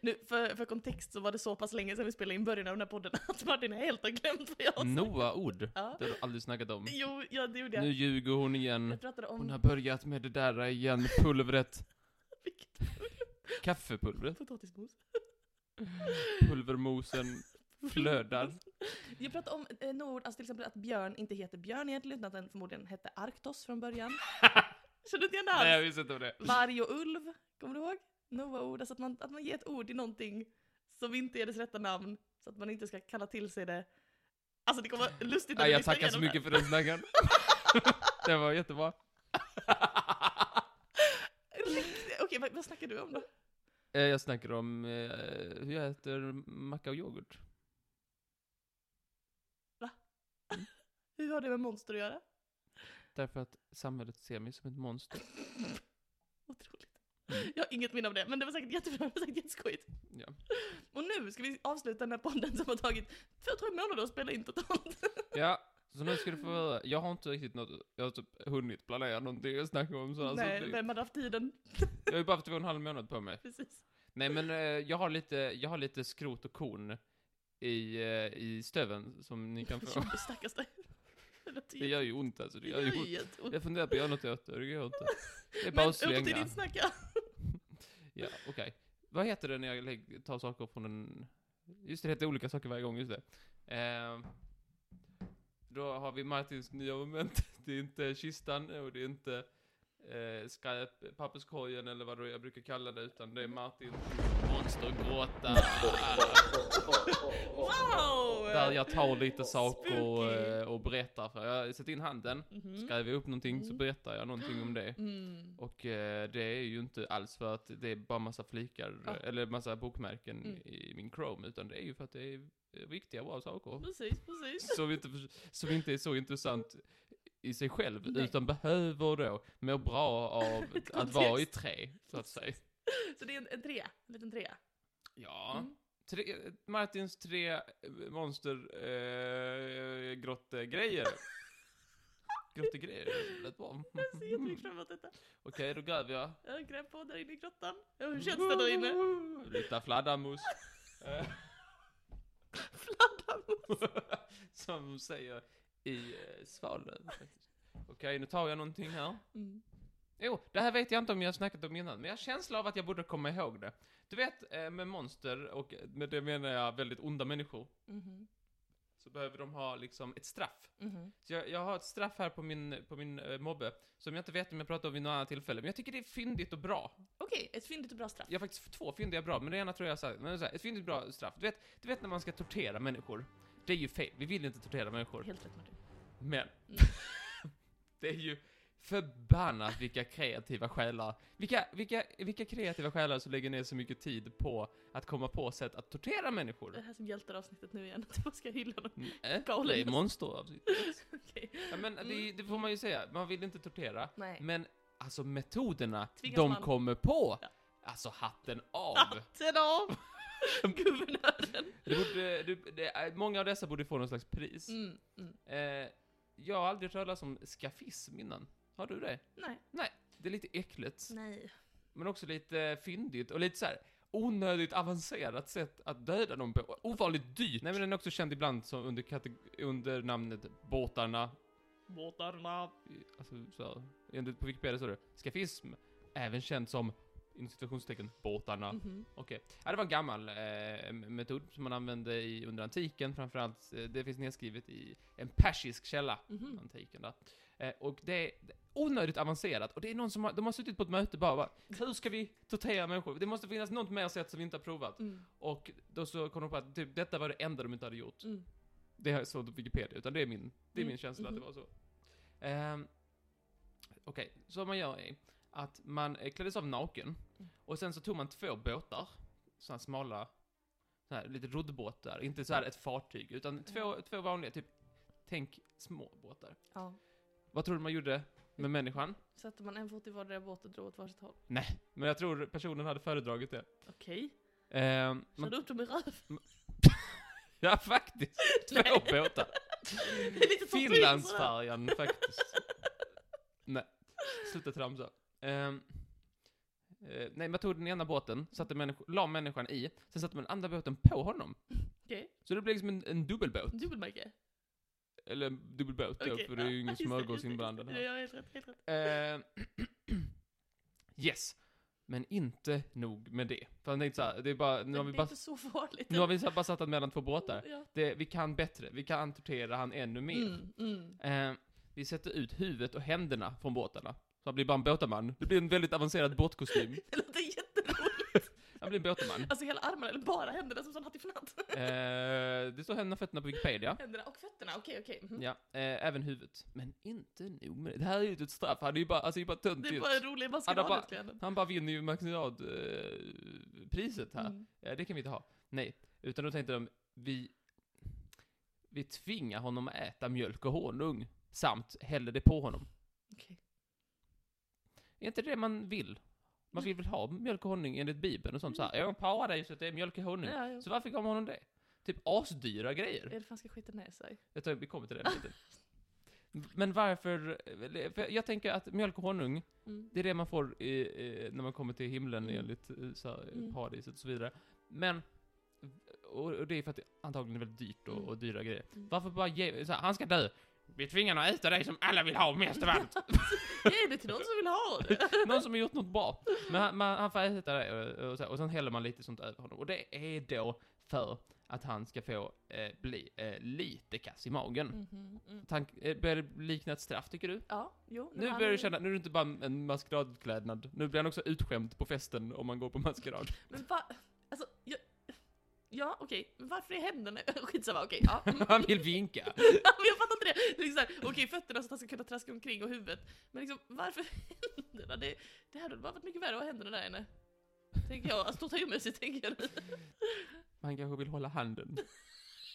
Speaker 2: Nu, för, för kontext så var det så pass länge sedan vi spelade in början av den här podden <laughs> att Martin är helt har glömt vad jag
Speaker 3: Mm.
Speaker 2: sa.
Speaker 3: Noah Ord.
Speaker 2: Ja.
Speaker 3: Det har du aldrig snackat om.
Speaker 2: Jo, ja, det gjorde jag.
Speaker 3: Nu ljuger hon igen.
Speaker 2: Jag pratade
Speaker 3: Hon har
Speaker 2: om
Speaker 3: börjat med det där igen, pulvret.
Speaker 2: <laughs> vilket
Speaker 3: Kaffepulvret.
Speaker 2: potatismos.
Speaker 3: Pulvermosen flödar.
Speaker 2: Jag pratade om eh, några ord, alltså till exempel att Björn inte heter Björn egentligen, utan att den förmodligen hette Arktos från början.
Speaker 3: <laughs>
Speaker 2: Känner du inte igen det
Speaker 3: Nej, jag
Speaker 2: alls?
Speaker 3: visste inte vad det.
Speaker 2: Varg och ulv, kommer du ihåg? Några ord, alltså att man, att man ger ett ord till någonting som inte är dess rätta namn, så att man inte ska kalla till sig det. Alltså det kommer vara lustigt när
Speaker 3: Nej,
Speaker 2: vi
Speaker 3: jag
Speaker 2: lyssnar
Speaker 3: tackar så
Speaker 2: igenom det.
Speaker 3: mycket för den snacken. Det var jättebra.
Speaker 2: Riktigt- Okej, vad, vad snackar du om då?
Speaker 3: Eh, Jag snackar om eh, hur jag äter macka och yoghurt.
Speaker 2: Hur har det med monster att göra?
Speaker 3: Därför att samhället ser mig som ett
Speaker 2: <laughs>
Speaker 3: monster.
Speaker 2: Otroligt. Jag har inget minne av det, men det var säkert jättebra, det var säkert jätteskojigt.
Speaker 3: Mm. Ja.
Speaker 2: Och nu ska vi avsluta den här podden som har tagit två, tre månader att spela in totalt.
Speaker 3: ja, så nu ska du få höra. Jag har inte riktigt något, jag har typ hunnit planera någonting att snacka om. Så alltså,
Speaker 2: Nej,
Speaker 3: det-
Speaker 2: vem hade haft tiden?
Speaker 3: Jag har ju bara haft två och en halv månad på mig.
Speaker 2: Precis.
Speaker 3: Nej men eh, jag har lite, jag har lite skrot och korn i, eh, i stöven som ni
Speaker 2: <laughs>
Speaker 3: kan få.
Speaker 2: Jo, Stackars dig. Det låter
Speaker 3: Det
Speaker 2: ju-
Speaker 3: gör ju ont alltså, det
Speaker 2: typ. det
Speaker 3: gör ju
Speaker 2: gör
Speaker 3: ont.
Speaker 2: ju jätteont.
Speaker 3: Jag funderar på att göra något åt det, det
Speaker 2: <laughs>
Speaker 3: gör inte. Det är
Speaker 2: Men
Speaker 3: bara att
Speaker 2: åter till
Speaker 3: slänga.
Speaker 2: din snacka.
Speaker 3: Ja, okej. Vad heter det när jag lägg- tar saker från en... Just det, det heter olika saker varje gång, just det. Eh, då har vi Martins nya moment. <laughs> Det är inte kistan och det är inte eh, skräp, papperskorgen eller vad det är jag brukar kalla det, utan det är Martins monstergråta.
Speaker 2: Wow!
Speaker 3: Där jag tar lite saker och,
Speaker 2: Spooky.
Speaker 3: eh, och berättar för. Jag sätter in handen,
Speaker 2: Mhm.
Speaker 3: skriver upp någonting, så
Speaker 2: Mm.
Speaker 3: berättar jag någonting om det.
Speaker 2: Mm.
Speaker 3: Och eh, det är ju inte alls för att det är bara massa flikar,
Speaker 2: Ja.
Speaker 3: eller massa bokmärken
Speaker 2: Mm.
Speaker 3: i min Chrome, utan det är ju för att det är eh, riktiga bra saker.
Speaker 2: Precis, precis.
Speaker 3: Som inte, som inte är så intressant i sig själv,
Speaker 2: Nej.
Speaker 3: utan behöver då må bra
Speaker 2: <laughs>
Speaker 3: av att vara i trä, så att säga.
Speaker 2: Så det är en, en trea, en liten trea.
Speaker 3: Ja.
Speaker 2: Mm.
Speaker 3: Tre, Martins tre eh, monster
Speaker 2: <laughs>
Speaker 3: eh, grottegrejer. grottegrejer, lät bra.
Speaker 2: Jag ser jättemycket fram emot detta.
Speaker 3: <laughs> Okej, då gräver jag.
Speaker 2: Jag gräv på där inne i grottan. Ja, Hur känns det där
Speaker 3: Mm.
Speaker 2: inne?
Speaker 3: Lite fladdermus. Eh,
Speaker 2: <laughs> Fladdermus.
Speaker 3: <laughs> Som de säger i eh, Svalöv faktiskt. Okej, nu tar jag någonting här.
Speaker 2: Mm.
Speaker 3: Jo, det här vet jag inte om jag har snackat om innan, men jag har känsla av att jag borde komma ihåg det. Du vet, eh, med monster, och eh, med det menar jag väldigt onda människor,
Speaker 2: Mhm.
Speaker 3: så behöver de ha liksom ett straff.
Speaker 2: Mhm.
Speaker 3: Så jag, jag har ett straff här på min, på min eh, mobbe, som jag inte vet om jag pratade om vid något annat tillfälle, men jag tycker det är fyndigt och bra.
Speaker 2: Okej, ett fyndigt och bra straff.
Speaker 3: Jag har faktiskt två fyndiga bra, men det ena tror jag så här, men så här, ett fyndigt bra straff. Du vet, du vet när man ska tortera människor? Det är ju fel, vi vill inte tortera människor.
Speaker 2: Helt rätt Martin.
Speaker 3: Men.
Speaker 2: Mm.
Speaker 3: <laughs> det är ju förbannat vilka kreativa själar. Vilka, vilka, vilka kreativa själar som lägger ner så mycket tid på att komma på sätt att tortera
Speaker 2: Det <laughs>
Speaker 3: människor. Äh,
Speaker 2: här som hjältar avsnittet nu igen, <laughs> att man ska hylla dem.
Speaker 3: Nej,
Speaker 2: Galen.
Speaker 3: det
Speaker 2: <laughs>
Speaker 3: är monsteravsnitt.
Speaker 2: Okej.
Speaker 3: Ja, men det,
Speaker 2: Mm.
Speaker 3: det får man ju säga, man vill inte tortera.
Speaker 2: Nej.
Speaker 3: Men alltså metoderna
Speaker 2: Tvingas
Speaker 3: de
Speaker 2: man.
Speaker 3: kommer på,
Speaker 2: Ja.
Speaker 3: alltså hatten
Speaker 2: <laughs>
Speaker 3: av.
Speaker 2: Hatten
Speaker 3: <laughs>
Speaker 2: av! Guvernören.
Speaker 3: Det borde, du, det, eh, många av dessa borde få någon slags pris.
Speaker 2: Mm, mm.
Speaker 3: Eh, jag har aldrig hört talas om skafism innan. Har du det?
Speaker 2: Nej.
Speaker 3: Det är lite äckligt.
Speaker 2: Nej.
Speaker 3: men också lite fyndigt och lite så här onödigt avancerat sätt att döda någon på. Ovanligt dyrt. Nej men den är också känd ibland som under, kate- under namnet båtarna.
Speaker 2: Båtarna.
Speaker 3: Alltså så här, enligt på Wikipedia står det skafism. Även känd som inom situationstecken båtarna.
Speaker 2: Mhm.
Speaker 3: Okej. Ja, det var en gammal eh, metod som man använde i, under antiken framförallt. Eh, Det finns nedskrivet i en persisk källa.
Speaker 2: Mhm.
Speaker 3: antiken där. Eh, och det är onödigt avancerat. Och det är någon som har, de har suttit på ett möte bara, bara hur ska vi tortera människor? Det måste finnas något mer sätt som vi inte har provat.
Speaker 2: Mm.
Speaker 3: Och då så kom de på att typ, detta var det enda de inte hade gjort.
Speaker 2: Mm.
Speaker 3: Det har jag såg på Wikipedia, utan det är min, det är
Speaker 2: Mm,
Speaker 3: min känsla
Speaker 2: mhm.
Speaker 3: att det var så. Ehm, Okej, så vad man gör är att man eh, kläddes av naken
Speaker 2: Mm.
Speaker 3: och sen så tog man två båtar, sådana smala, så här, lite roddbåtar, inte så här ett fartyg,
Speaker 2: Mm.
Speaker 3: utan två, två vanliga, typ, tänk små båtar.
Speaker 2: Ja.
Speaker 3: Vad tror du man gjorde med människan?
Speaker 2: Satte man en fot i vardera båt och drog åt varsitt håll.
Speaker 3: Men jag tror personen hade föredragit det.
Speaker 2: Okej.
Speaker 3: Ehm, man,
Speaker 2: Körde upp dem i röven.
Speaker 3: <laughs> ja, faktiskt. Två
Speaker 2: Nej.
Speaker 3: båtar.
Speaker 2: Det är <laughs> lite tortyr, sådär.
Speaker 3: Finlandsfärjan faktiskt. Nej, sluta tramsa. Ehm, Eh, nej, man tog den ena båten, satte människ- la människan i, sen satte man den andra båten på honom.
Speaker 2: Okej.
Speaker 3: Så det blev liksom en, en dubbelbåt.
Speaker 2: Dubbelmärke?
Speaker 3: Eller en dubbelbåt då,
Speaker 2: Okej,
Speaker 3: för det är
Speaker 2: ja. <laughs>
Speaker 3: ju ingen
Speaker 2: Just det, just
Speaker 3: smörgås
Speaker 2: det, just
Speaker 3: inblandad
Speaker 2: det.
Speaker 3: här.
Speaker 2: Ja, helt rätt, helt rätt.
Speaker 3: Eh, <clears throat> yes. Men inte nog med det. För han tänkte såhär, det är bara, nu har vi
Speaker 2: det är
Speaker 3: bara,
Speaker 2: inte så farligt.
Speaker 3: nu har vi så här bara satt han mellan två båtar.
Speaker 2: Ja.
Speaker 3: Det, vi kan bättre, vi kan entortera han ännu mer.
Speaker 2: Mm, mm.
Speaker 3: Eh, vi sätter ut huvudet och händerna från båtarna. Så han blir bara en båtarman. Det blir en väldigt avancerad båtkostym.
Speaker 2: Det låter jätteroligt.
Speaker 3: Han blir en båtarman.
Speaker 2: Alltså hela armarna, eller bara händerna som sån hattifnatt.
Speaker 3: Eh, det står händerna och fötterna på Wikipedia.
Speaker 2: <laughs> Händerna och fötterna, okej okej. Mhm.
Speaker 3: Ja, eh, även huvudet. Men inte nog med det. Det här är ju inte ett straff, han är ju bara, alltså, det är bara
Speaker 2: Det är
Speaker 3: töntigt.
Speaker 2: bara en rolig
Speaker 3: Ja, det är
Speaker 2: maskerad
Speaker 3: bara-
Speaker 2: egentligen.
Speaker 3: Han bara vinner ju maximialpriset eh, priset här.
Speaker 2: Mm.
Speaker 3: Eh, det kan vi inte ha. Nej, utan då tänkte de, vi, vi tvingar honom att äta mjölk och honung. Samt häller det på honom.
Speaker 2: Okej.
Speaker 3: Är inte det man vill? Man vill väl ha mjölk och honung enligt Bibeln och sånt så här. Ja, paradiset är mjölk och honung.
Speaker 2: Ja, ja.
Speaker 3: Så varför gav man honom det? Typ asdyra grejer.
Speaker 2: Är det fan ska skita ner sig?
Speaker 3: Jag tror vi kommer till det om en
Speaker 2: <laughs>
Speaker 3: liten. Men varför, för jag tänker att mjölk och honung,
Speaker 2: Mm.
Speaker 3: det är det man får i, i, när man kommer till himlen
Speaker 2: Mm.
Speaker 3: enligt eh, så här,
Speaker 2: Mm.
Speaker 3: paradiset och så vidare. Men, och, och det är för att det antagligen är väldigt dyrt och,
Speaker 2: Mm.
Speaker 3: och dyra grejer.
Speaker 2: Mm.
Speaker 3: Varför bara ge, så här, han ska dö. Vi tvingar honom att äta dig som alla vill ha mest
Speaker 2: <laughs>
Speaker 3: av allt.
Speaker 2: Ge det till någon som vill ha
Speaker 3: <laughs>
Speaker 2: det!
Speaker 3: Någon som har gjort något bra. Men han, man, han får äta det och, och, så här, och sen häller man lite sånt över honom. Och det är då för att han ska få eh, bli eh, lite kass i magen.
Speaker 2: Mhm, mm.
Speaker 3: Tank, eh, börjar det likna ett straff, tycker du?
Speaker 2: Ja, jo.
Speaker 3: Nu
Speaker 2: han
Speaker 3: börjar
Speaker 2: är-
Speaker 3: du känna, nu är det inte bara en maskeradklädnad. Nu blir han också utskämd på festen om man går på maskerad. <laughs>
Speaker 2: Men va? Alltså, jag... Ja, okej. Men varför är händerna... <laughs> Skitsamma, okej.
Speaker 3: <laughs>
Speaker 2: Ja. Mm.
Speaker 3: Han vill vinka.
Speaker 2: <laughs> Men jag fattar inte det! det är liksom såhär, okej, fötterna så att han ska kunna traska omkring och huvudet. Men liksom, varför <laughs> händerna? Det, det hade bara varit mycket värre att ha händerna där inne. Tänker jag. Alltså, tortyrmässigt tänker jag. <laughs>
Speaker 3: Han kanske vill hålla handen.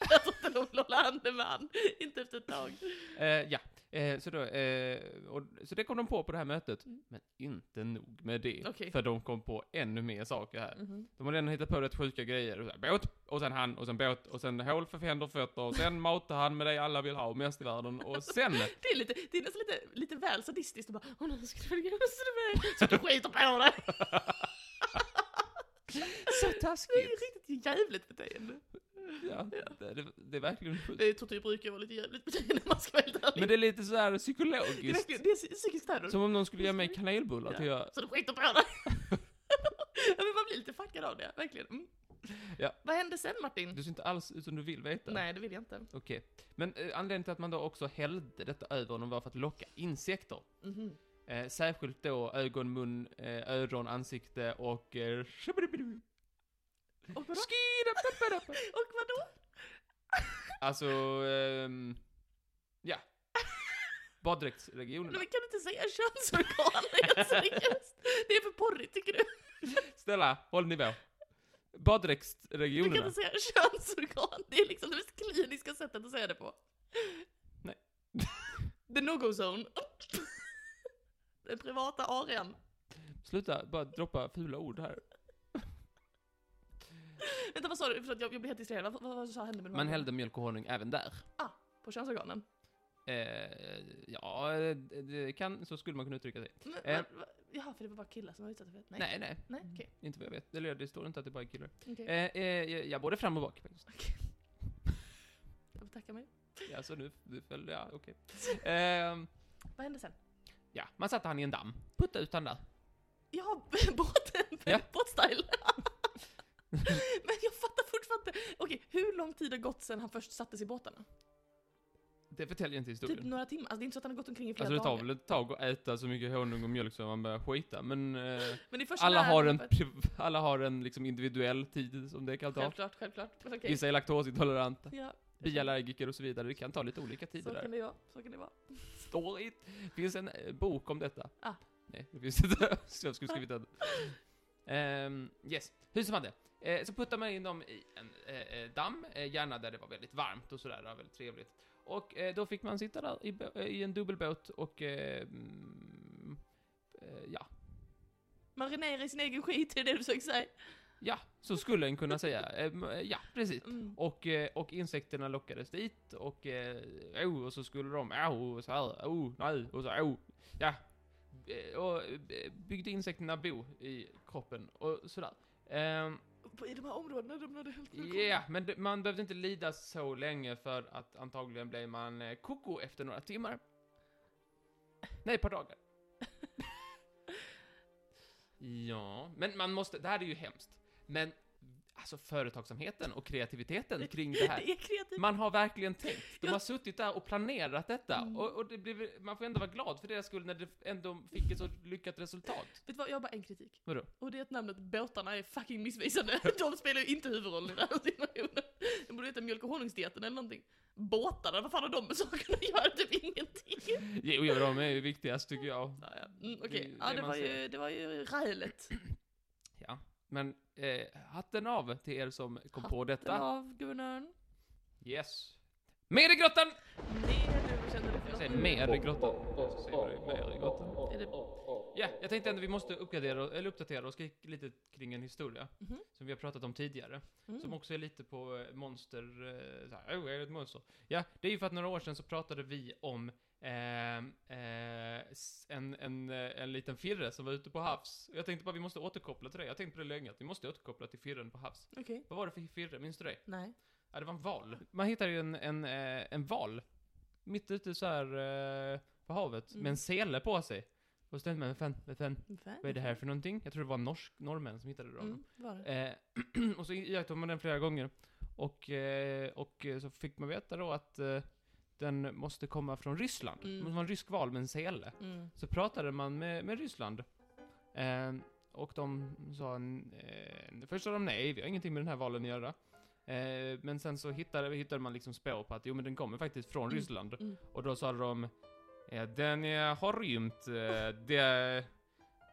Speaker 2: Jag tror inte de vill hålla handen med Alltså, han. Inte efter ett tag.
Speaker 3: Eh, ja, eh, så, då, eh, och, så det kom de på på det här mötet.
Speaker 2: Mm.
Speaker 3: Men inte nog med det.
Speaker 2: Okej.
Speaker 3: För de kom på ännu mer saker här. De har redan hittat på rätt sjuka grejer. Och så här, båt, och sen han, och sen båt, och sen hål för händer och fötter, och sen matar han med det alla vill ha mest i världen,
Speaker 2: <laughs>
Speaker 3: och sen...
Speaker 2: Det är, lite, det är nästan lite, lite väl sadistiskt att bara Åh nu ska du följa med mig, så du skiter på dig!
Speaker 3: Så
Speaker 2: Det är
Speaker 3: taskigt!
Speaker 2: riktigt jävligt beteende.
Speaker 3: Ja, det, det, det är verkligen sjukt.
Speaker 2: Det är tortyr brukar vara lite jävligt beteende om man ska vara helt ärlig.
Speaker 3: Men det är lite så här
Speaker 2: det är,
Speaker 3: psykologiskt.
Speaker 2: verkligen- det är psy- psykisk terror.
Speaker 3: Som om någon skulle ge mig kanelbullar
Speaker 2: Ja.
Speaker 3: till jag...
Speaker 2: Så du skiter på <laughs> dig! ja, men man blir lite fuckad av det, verkligen. Mm.
Speaker 3: Ja.
Speaker 2: Vad hände sen Martin?
Speaker 3: Du ser inte alls ut som du vill veta.
Speaker 2: Nej, det vill jag inte.
Speaker 3: Okej. Men eh, anledningen till att man då också hällde detta över honom var för att locka insekter.
Speaker 2: Mhm.
Speaker 3: Eh, särskilt då ögon, mun, eh, öron, ansikte och... Eh, shibidibidu.
Speaker 2: Och vadå?
Speaker 3: Skidababadabab.
Speaker 2: Och vadå?
Speaker 3: alltså... ehm, ja.
Speaker 2: Men
Speaker 3: Baddräktsregionerna.
Speaker 2: kan du inte säga könsorgan? <laughs> Helt seriöst? Det är för porrigt tycker du?
Speaker 3: Snälla, håll nivå.
Speaker 2: Du kan
Speaker 3: Baddräktsregionerna.
Speaker 2: inte säga könsorgan, det är liksom det mest kliniska sättet att säga det på.
Speaker 3: Nej.
Speaker 2: <laughs> The no-go-zone. <laughs> Den privata arean.
Speaker 3: Sluta bara droppa fula ord här.
Speaker 2: Vänta vad sa du? Förlåt jag, jag blev helt distraherad. Vad, vad, vad sa hände med
Speaker 3: Man
Speaker 2: honom?
Speaker 3: hällde mjölk och honung även där.
Speaker 2: På könsorganen?
Speaker 3: Eh, ja, eh, det kan, så skulle man kunna uttrycka sig.
Speaker 2: Men,
Speaker 3: Eh.
Speaker 2: vad- vad- Jaha, för det var bara killar som var utsatta för det?
Speaker 3: Nej, nej.
Speaker 2: Nej, okej.
Speaker 3: Inte vad jag vet. Eller det står inte att det bara är killar.
Speaker 2: Okej.
Speaker 3: Eh, eh, ja, både fram och bak faktiskt.
Speaker 2: Jag får tacka mig.
Speaker 3: Ja, så nu, nu föll ja, okej. Ehm,
Speaker 2: Vad hände sen?
Speaker 3: ja, man satte han i en damm. Putta ut han där.
Speaker 2: Ja, <laughs> båten!
Speaker 3: Ja. <laughs>
Speaker 2: Båtstyle! <laughs> Men jag fattar fortfarande inte. Okej, hur lång tid har gått sedan han först sattes i båtarna?
Speaker 3: Det förtäljer inte
Speaker 2: Typ
Speaker 3: historien.
Speaker 2: några timmar? Alltså det är inte så att han har gått omkring i flera
Speaker 3: Alltså det tar
Speaker 2: dagar.
Speaker 3: väl ett tag att äta så mycket honung och mjölk så man börjar skita,
Speaker 2: <laughs>
Speaker 3: men eh,
Speaker 2: Men det är först
Speaker 3: alla
Speaker 2: när
Speaker 3: har
Speaker 2: han
Speaker 3: en,
Speaker 2: börjar-
Speaker 3: priv- alla har en liksom individuell tid som det kan ta.
Speaker 2: Självklart, självklart. Men okej.
Speaker 3: Vissa är laktosintoleranta,
Speaker 2: Ja,
Speaker 3: biallergiker och så vidare. Det kan ta lite olika tider
Speaker 2: så
Speaker 3: där.
Speaker 2: kan det vara. Så kan det vara.
Speaker 3: Står i, finns en eh, bok om detta.
Speaker 2: Ah.
Speaker 3: Nej, det finns inte. <laughs> Så jag skulle skrivit den. Ehm, yes, hur som hade. Eh, så puttar man in dem i en eh, eh, damm, eh, gärna där det var väldigt varmt och sådär, det var väldigt trevligt. Och eh, då fick man sitta där i, bå- eh, i en dubbelbåt och eh, mm, eh, ja,
Speaker 2: Marinera i sin egen skit, är det du försöker säga?
Speaker 3: ja, så skulle en kunna säga. Ehm, Eh, ja, precis.
Speaker 2: Mm.
Speaker 3: Och, eh, och insekterna lockades dit och, eh, oh, och så skulle de, oh, och så här, oh, nej, och så, oh, ja. Eh, Och eh, byggde insekterna bo i kroppen och sådär. Ehm,
Speaker 2: På- I de här områdena de hade helt
Speaker 3: Ja,
Speaker 2: sjuka
Speaker 3: men det, man behövde inte lida så länge för att antagligen blev man eh, koko efter några timmar. Nej, ett par <laughs> dagar. ja, men man måste, det här är ju hemskt. Men alltså företagsamheten och kreativiteten kring det här.
Speaker 2: Det är kreativt.
Speaker 3: Man har verkligen tänkt. De har suttit där och planerat detta.
Speaker 2: Mm.
Speaker 3: Och, och det blev, man får ändå vara glad för deras skull när det ändå fick ett så lyckat resultat.
Speaker 2: Vet du vad, jag har bara en kritik.
Speaker 3: Vadå?
Speaker 2: Och det är att namnet Båtarna är fucking missvisande. <laughs> De spelar ju inte huvudrollen i den här situationen. De borde heta Mjölk och honungsdieten eller någonting. Båtarna, vad fan har de med sakerna att göra? Typ ingenting.
Speaker 3: Jo, jo, de är ju viktigast tycker jag.
Speaker 2: Ja, ja. Mm, Okej,
Speaker 3: Det-
Speaker 2: ja,
Speaker 3: det
Speaker 2: det,
Speaker 3: man
Speaker 2: var ju,
Speaker 3: ser.
Speaker 2: det var ju rälet.
Speaker 3: Ja, men eh, hatten av till er som kom på
Speaker 2: Den
Speaker 3: detta.
Speaker 2: av guvernören.
Speaker 3: Yes. Mer i grottan!
Speaker 2: Ner nu, vad känner du för
Speaker 3: Jag
Speaker 2: något?
Speaker 3: säger mer i grottan. Så säger du mer i grottan.
Speaker 2: Är det...
Speaker 3: Ja, jag tänkte ändå vi måste uppgradera, eller uppdatera oss lite kring en historia
Speaker 2: Mhm.
Speaker 3: som vi har pratat om tidigare. Mm-hmm. Som
Speaker 2: Mm.
Speaker 3: också är lite på eh, monster... eh, Så här, oh, jag är ett monster. Ja, det är ju för att några år sedan så pratade vi om ehm, eh, s- en, en, eh, en liten firre som var ute på havs. Jag tänkte bara vi måste återkoppla till det. Jag tänkte på det länge, att vi måste återkoppla till firren på havs.
Speaker 2: Okej.
Speaker 3: Vad var det för firre? Minns du det?
Speaker 2: Nej.
Speaker 3: Ja, det var en val. Man hittar ju en, en, eh, en val. Mitt ute så här eh, på havet,
Speaker 2: Mm.
Speaker 3: med en sele på sig. Och så tänkte man, "Vad fan, vad fan,
Speaker 2: Fan.
Speaker 3: vad är det här för någonting? Jag tror det var norsk, norrmän som hittade dem.
Speaker 2: Mm, var det?
Speaker 3: Eh, <clears throat> och så iakttog man den flera gånger. Och, eh, och eh, så fick man veta då att eh, den måste komma från Ryssland.
Speaker 2: Mm.
Speaker 3: Det måste vara en rysk val med en sele.
Speaker 2: Mm.
Speaker 3: Så pratade man med, med Ryssland. Eh, och de sa... n- Eh, först sa de nej, vi har ingenting med den här valen att göra. Eh, men sen så hittade, hittade man liksom spår på att jo men den kommer faktiskt från
Speaker 2: Mm,
Speaker 3: Ryssland.
Speaker 2: mm.
Speaker 3: Och då sa de... Eh, den eh, har rymt. Eh, det...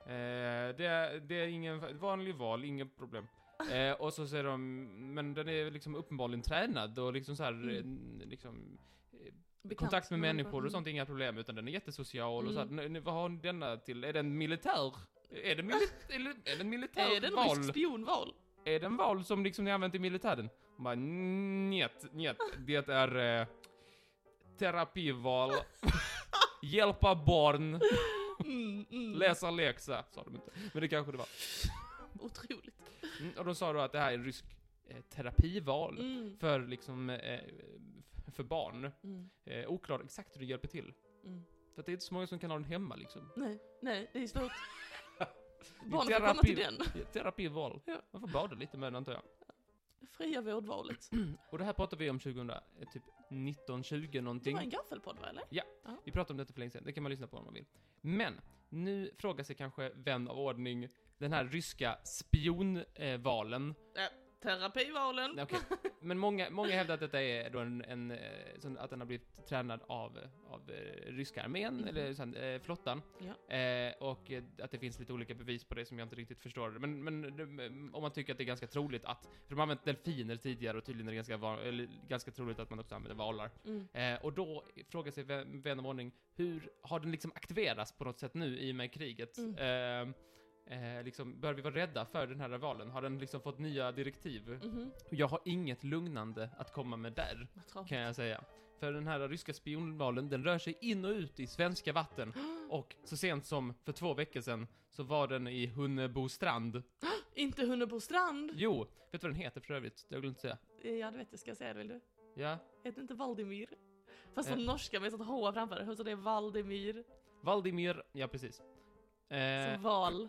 Speaker 3: Eh, det, det är ingen vanlig val, inget problem. Eh, och så säger de, men den är liksom uppenbarligen tränad och liksom så här,
Speaker 2: Mm.
Speaker 3: eh, n- liksom, eh,
Speaker 2: Bekant.
Speaker 3: Kontakt med
Speaker 2: Mm.
Speaker 3: människor och sånt är inga problem, utan den är jättesocial och så här,
Speaker 2: Mm.
Speaker 3: "Nu- nu, Vad har denna till? Är den militär? Är den, mili
Speaker 2: <laughs>
Speaker 3: eller, är den militär
Speaker 2: Är det en
Speaker 3: val?
Speaker 2: rysk spionval?
Speaker 3: Är den val som liksom ni använt i militären? Man bara, njet, njet. Det är eh,
Speaker 2: <laughs>
Speaker 3: terapival. Hjälpa barn.
Speaker 2: Mm, mm.
Speaker 3: Läsa läxa, sa de inte. Men det kanske det var.
Speaker 2: Otroligt.
Speaker 3: Mm, och de sa då att det här är en rysk eh, terapival.
Speaker 2: Mm.
Speaker 3: För liksom, eh, för barn.
Speaker 2: Mm.
Speaker 3: Eh, oklart exakt hur det hjälper till.
Speaker 2: Mm.
Speaker 3: För att det är inte så många som kan ha den hemma liksom.
Speaker 2: Nej, nej, det är
Speaker 3: <laughs>
Speaker 2: svårt.
Speaker 3: är
Speaker 2: Barnen får komma till den.
Speaker 3: terapi. Det är Terapival.
Speaker 2: Ja.
Speaker 3: Man får bada lite med den antar jag.
Speaker 2: Det Fria vårdvalet.
Speaker 3: Och det här pratar vi om 2000, eh, typ 19, 20
Speaker 2: Det
Speaker 3: någonting.
Speaker 2: var en gaffelpodd va, eller?
Speaker 3: Vi pratade om detta för länge sedan, det kan man lyssna på om man vill. Men, nu frågar sig kanske vän av ordning den här ryska spionvalen.
Speaker 2: Terapivalen.
Speaker 3: Nej, okej. Men många, många hävdar att detta är då en, en eh, sån, att den har blivit tränad av, eh, av eh, ryska armén,
Speaker 2: Mhm.
Speaker 3: eller sån, eh, flottan.
Speaker 2: Ja.
Speaker 3: Eh, och eh, att det finns lite olika bevis på det som jag inte riktigt förstår. Men, men eh, om man tycker att det är ganska troligt att, för de har använt delfiner tidigare och tydligen är det ganska, van, eller, ganska troligt att man också använder valar.
Speaker 2: Mm.
Speaker 3: Eh, och då frågar sig vän vän av ordning, hur har den liksom aktiverats på något sätt nu i och med kriget?
Speaker 2: Mm.
Speaker 3: Eh, eh, liksom, bör vi vara rädda för den här valen? Har den liksom fått nya direktiv?
Speaker 2: Mhm.
Speaker 3: Och Jag har inget lugnande att komma med där,
Speaker 2: Vad tråkigt.
Speaker 3: kan jag säga. För den här ryska spionvalen, den rör sig in och ut i
Speaker 2: <gasps>
Speaker 3: svenska vatten. Och så sent som för två veckor sedan så var den i Hunnebo strand.
Speaker 2: Inte Hunnebo strand.
Speaker 3: Jo, vet du vad den heter för övrigt? Jag glömde säga.
Speaker 2: Eh, Ja, du vet jag ska säga det, vill du?
Speaker 3: Ja.
Speaker 2: Heter inte Valdimir? Fast på
Speaker 3: Eh.
Speaker 2: norska med ett sånt H framför det, så det är Valdimir.
Speaker 3: Valdimir, ja precis. Eh,
Speaker 2: Som val.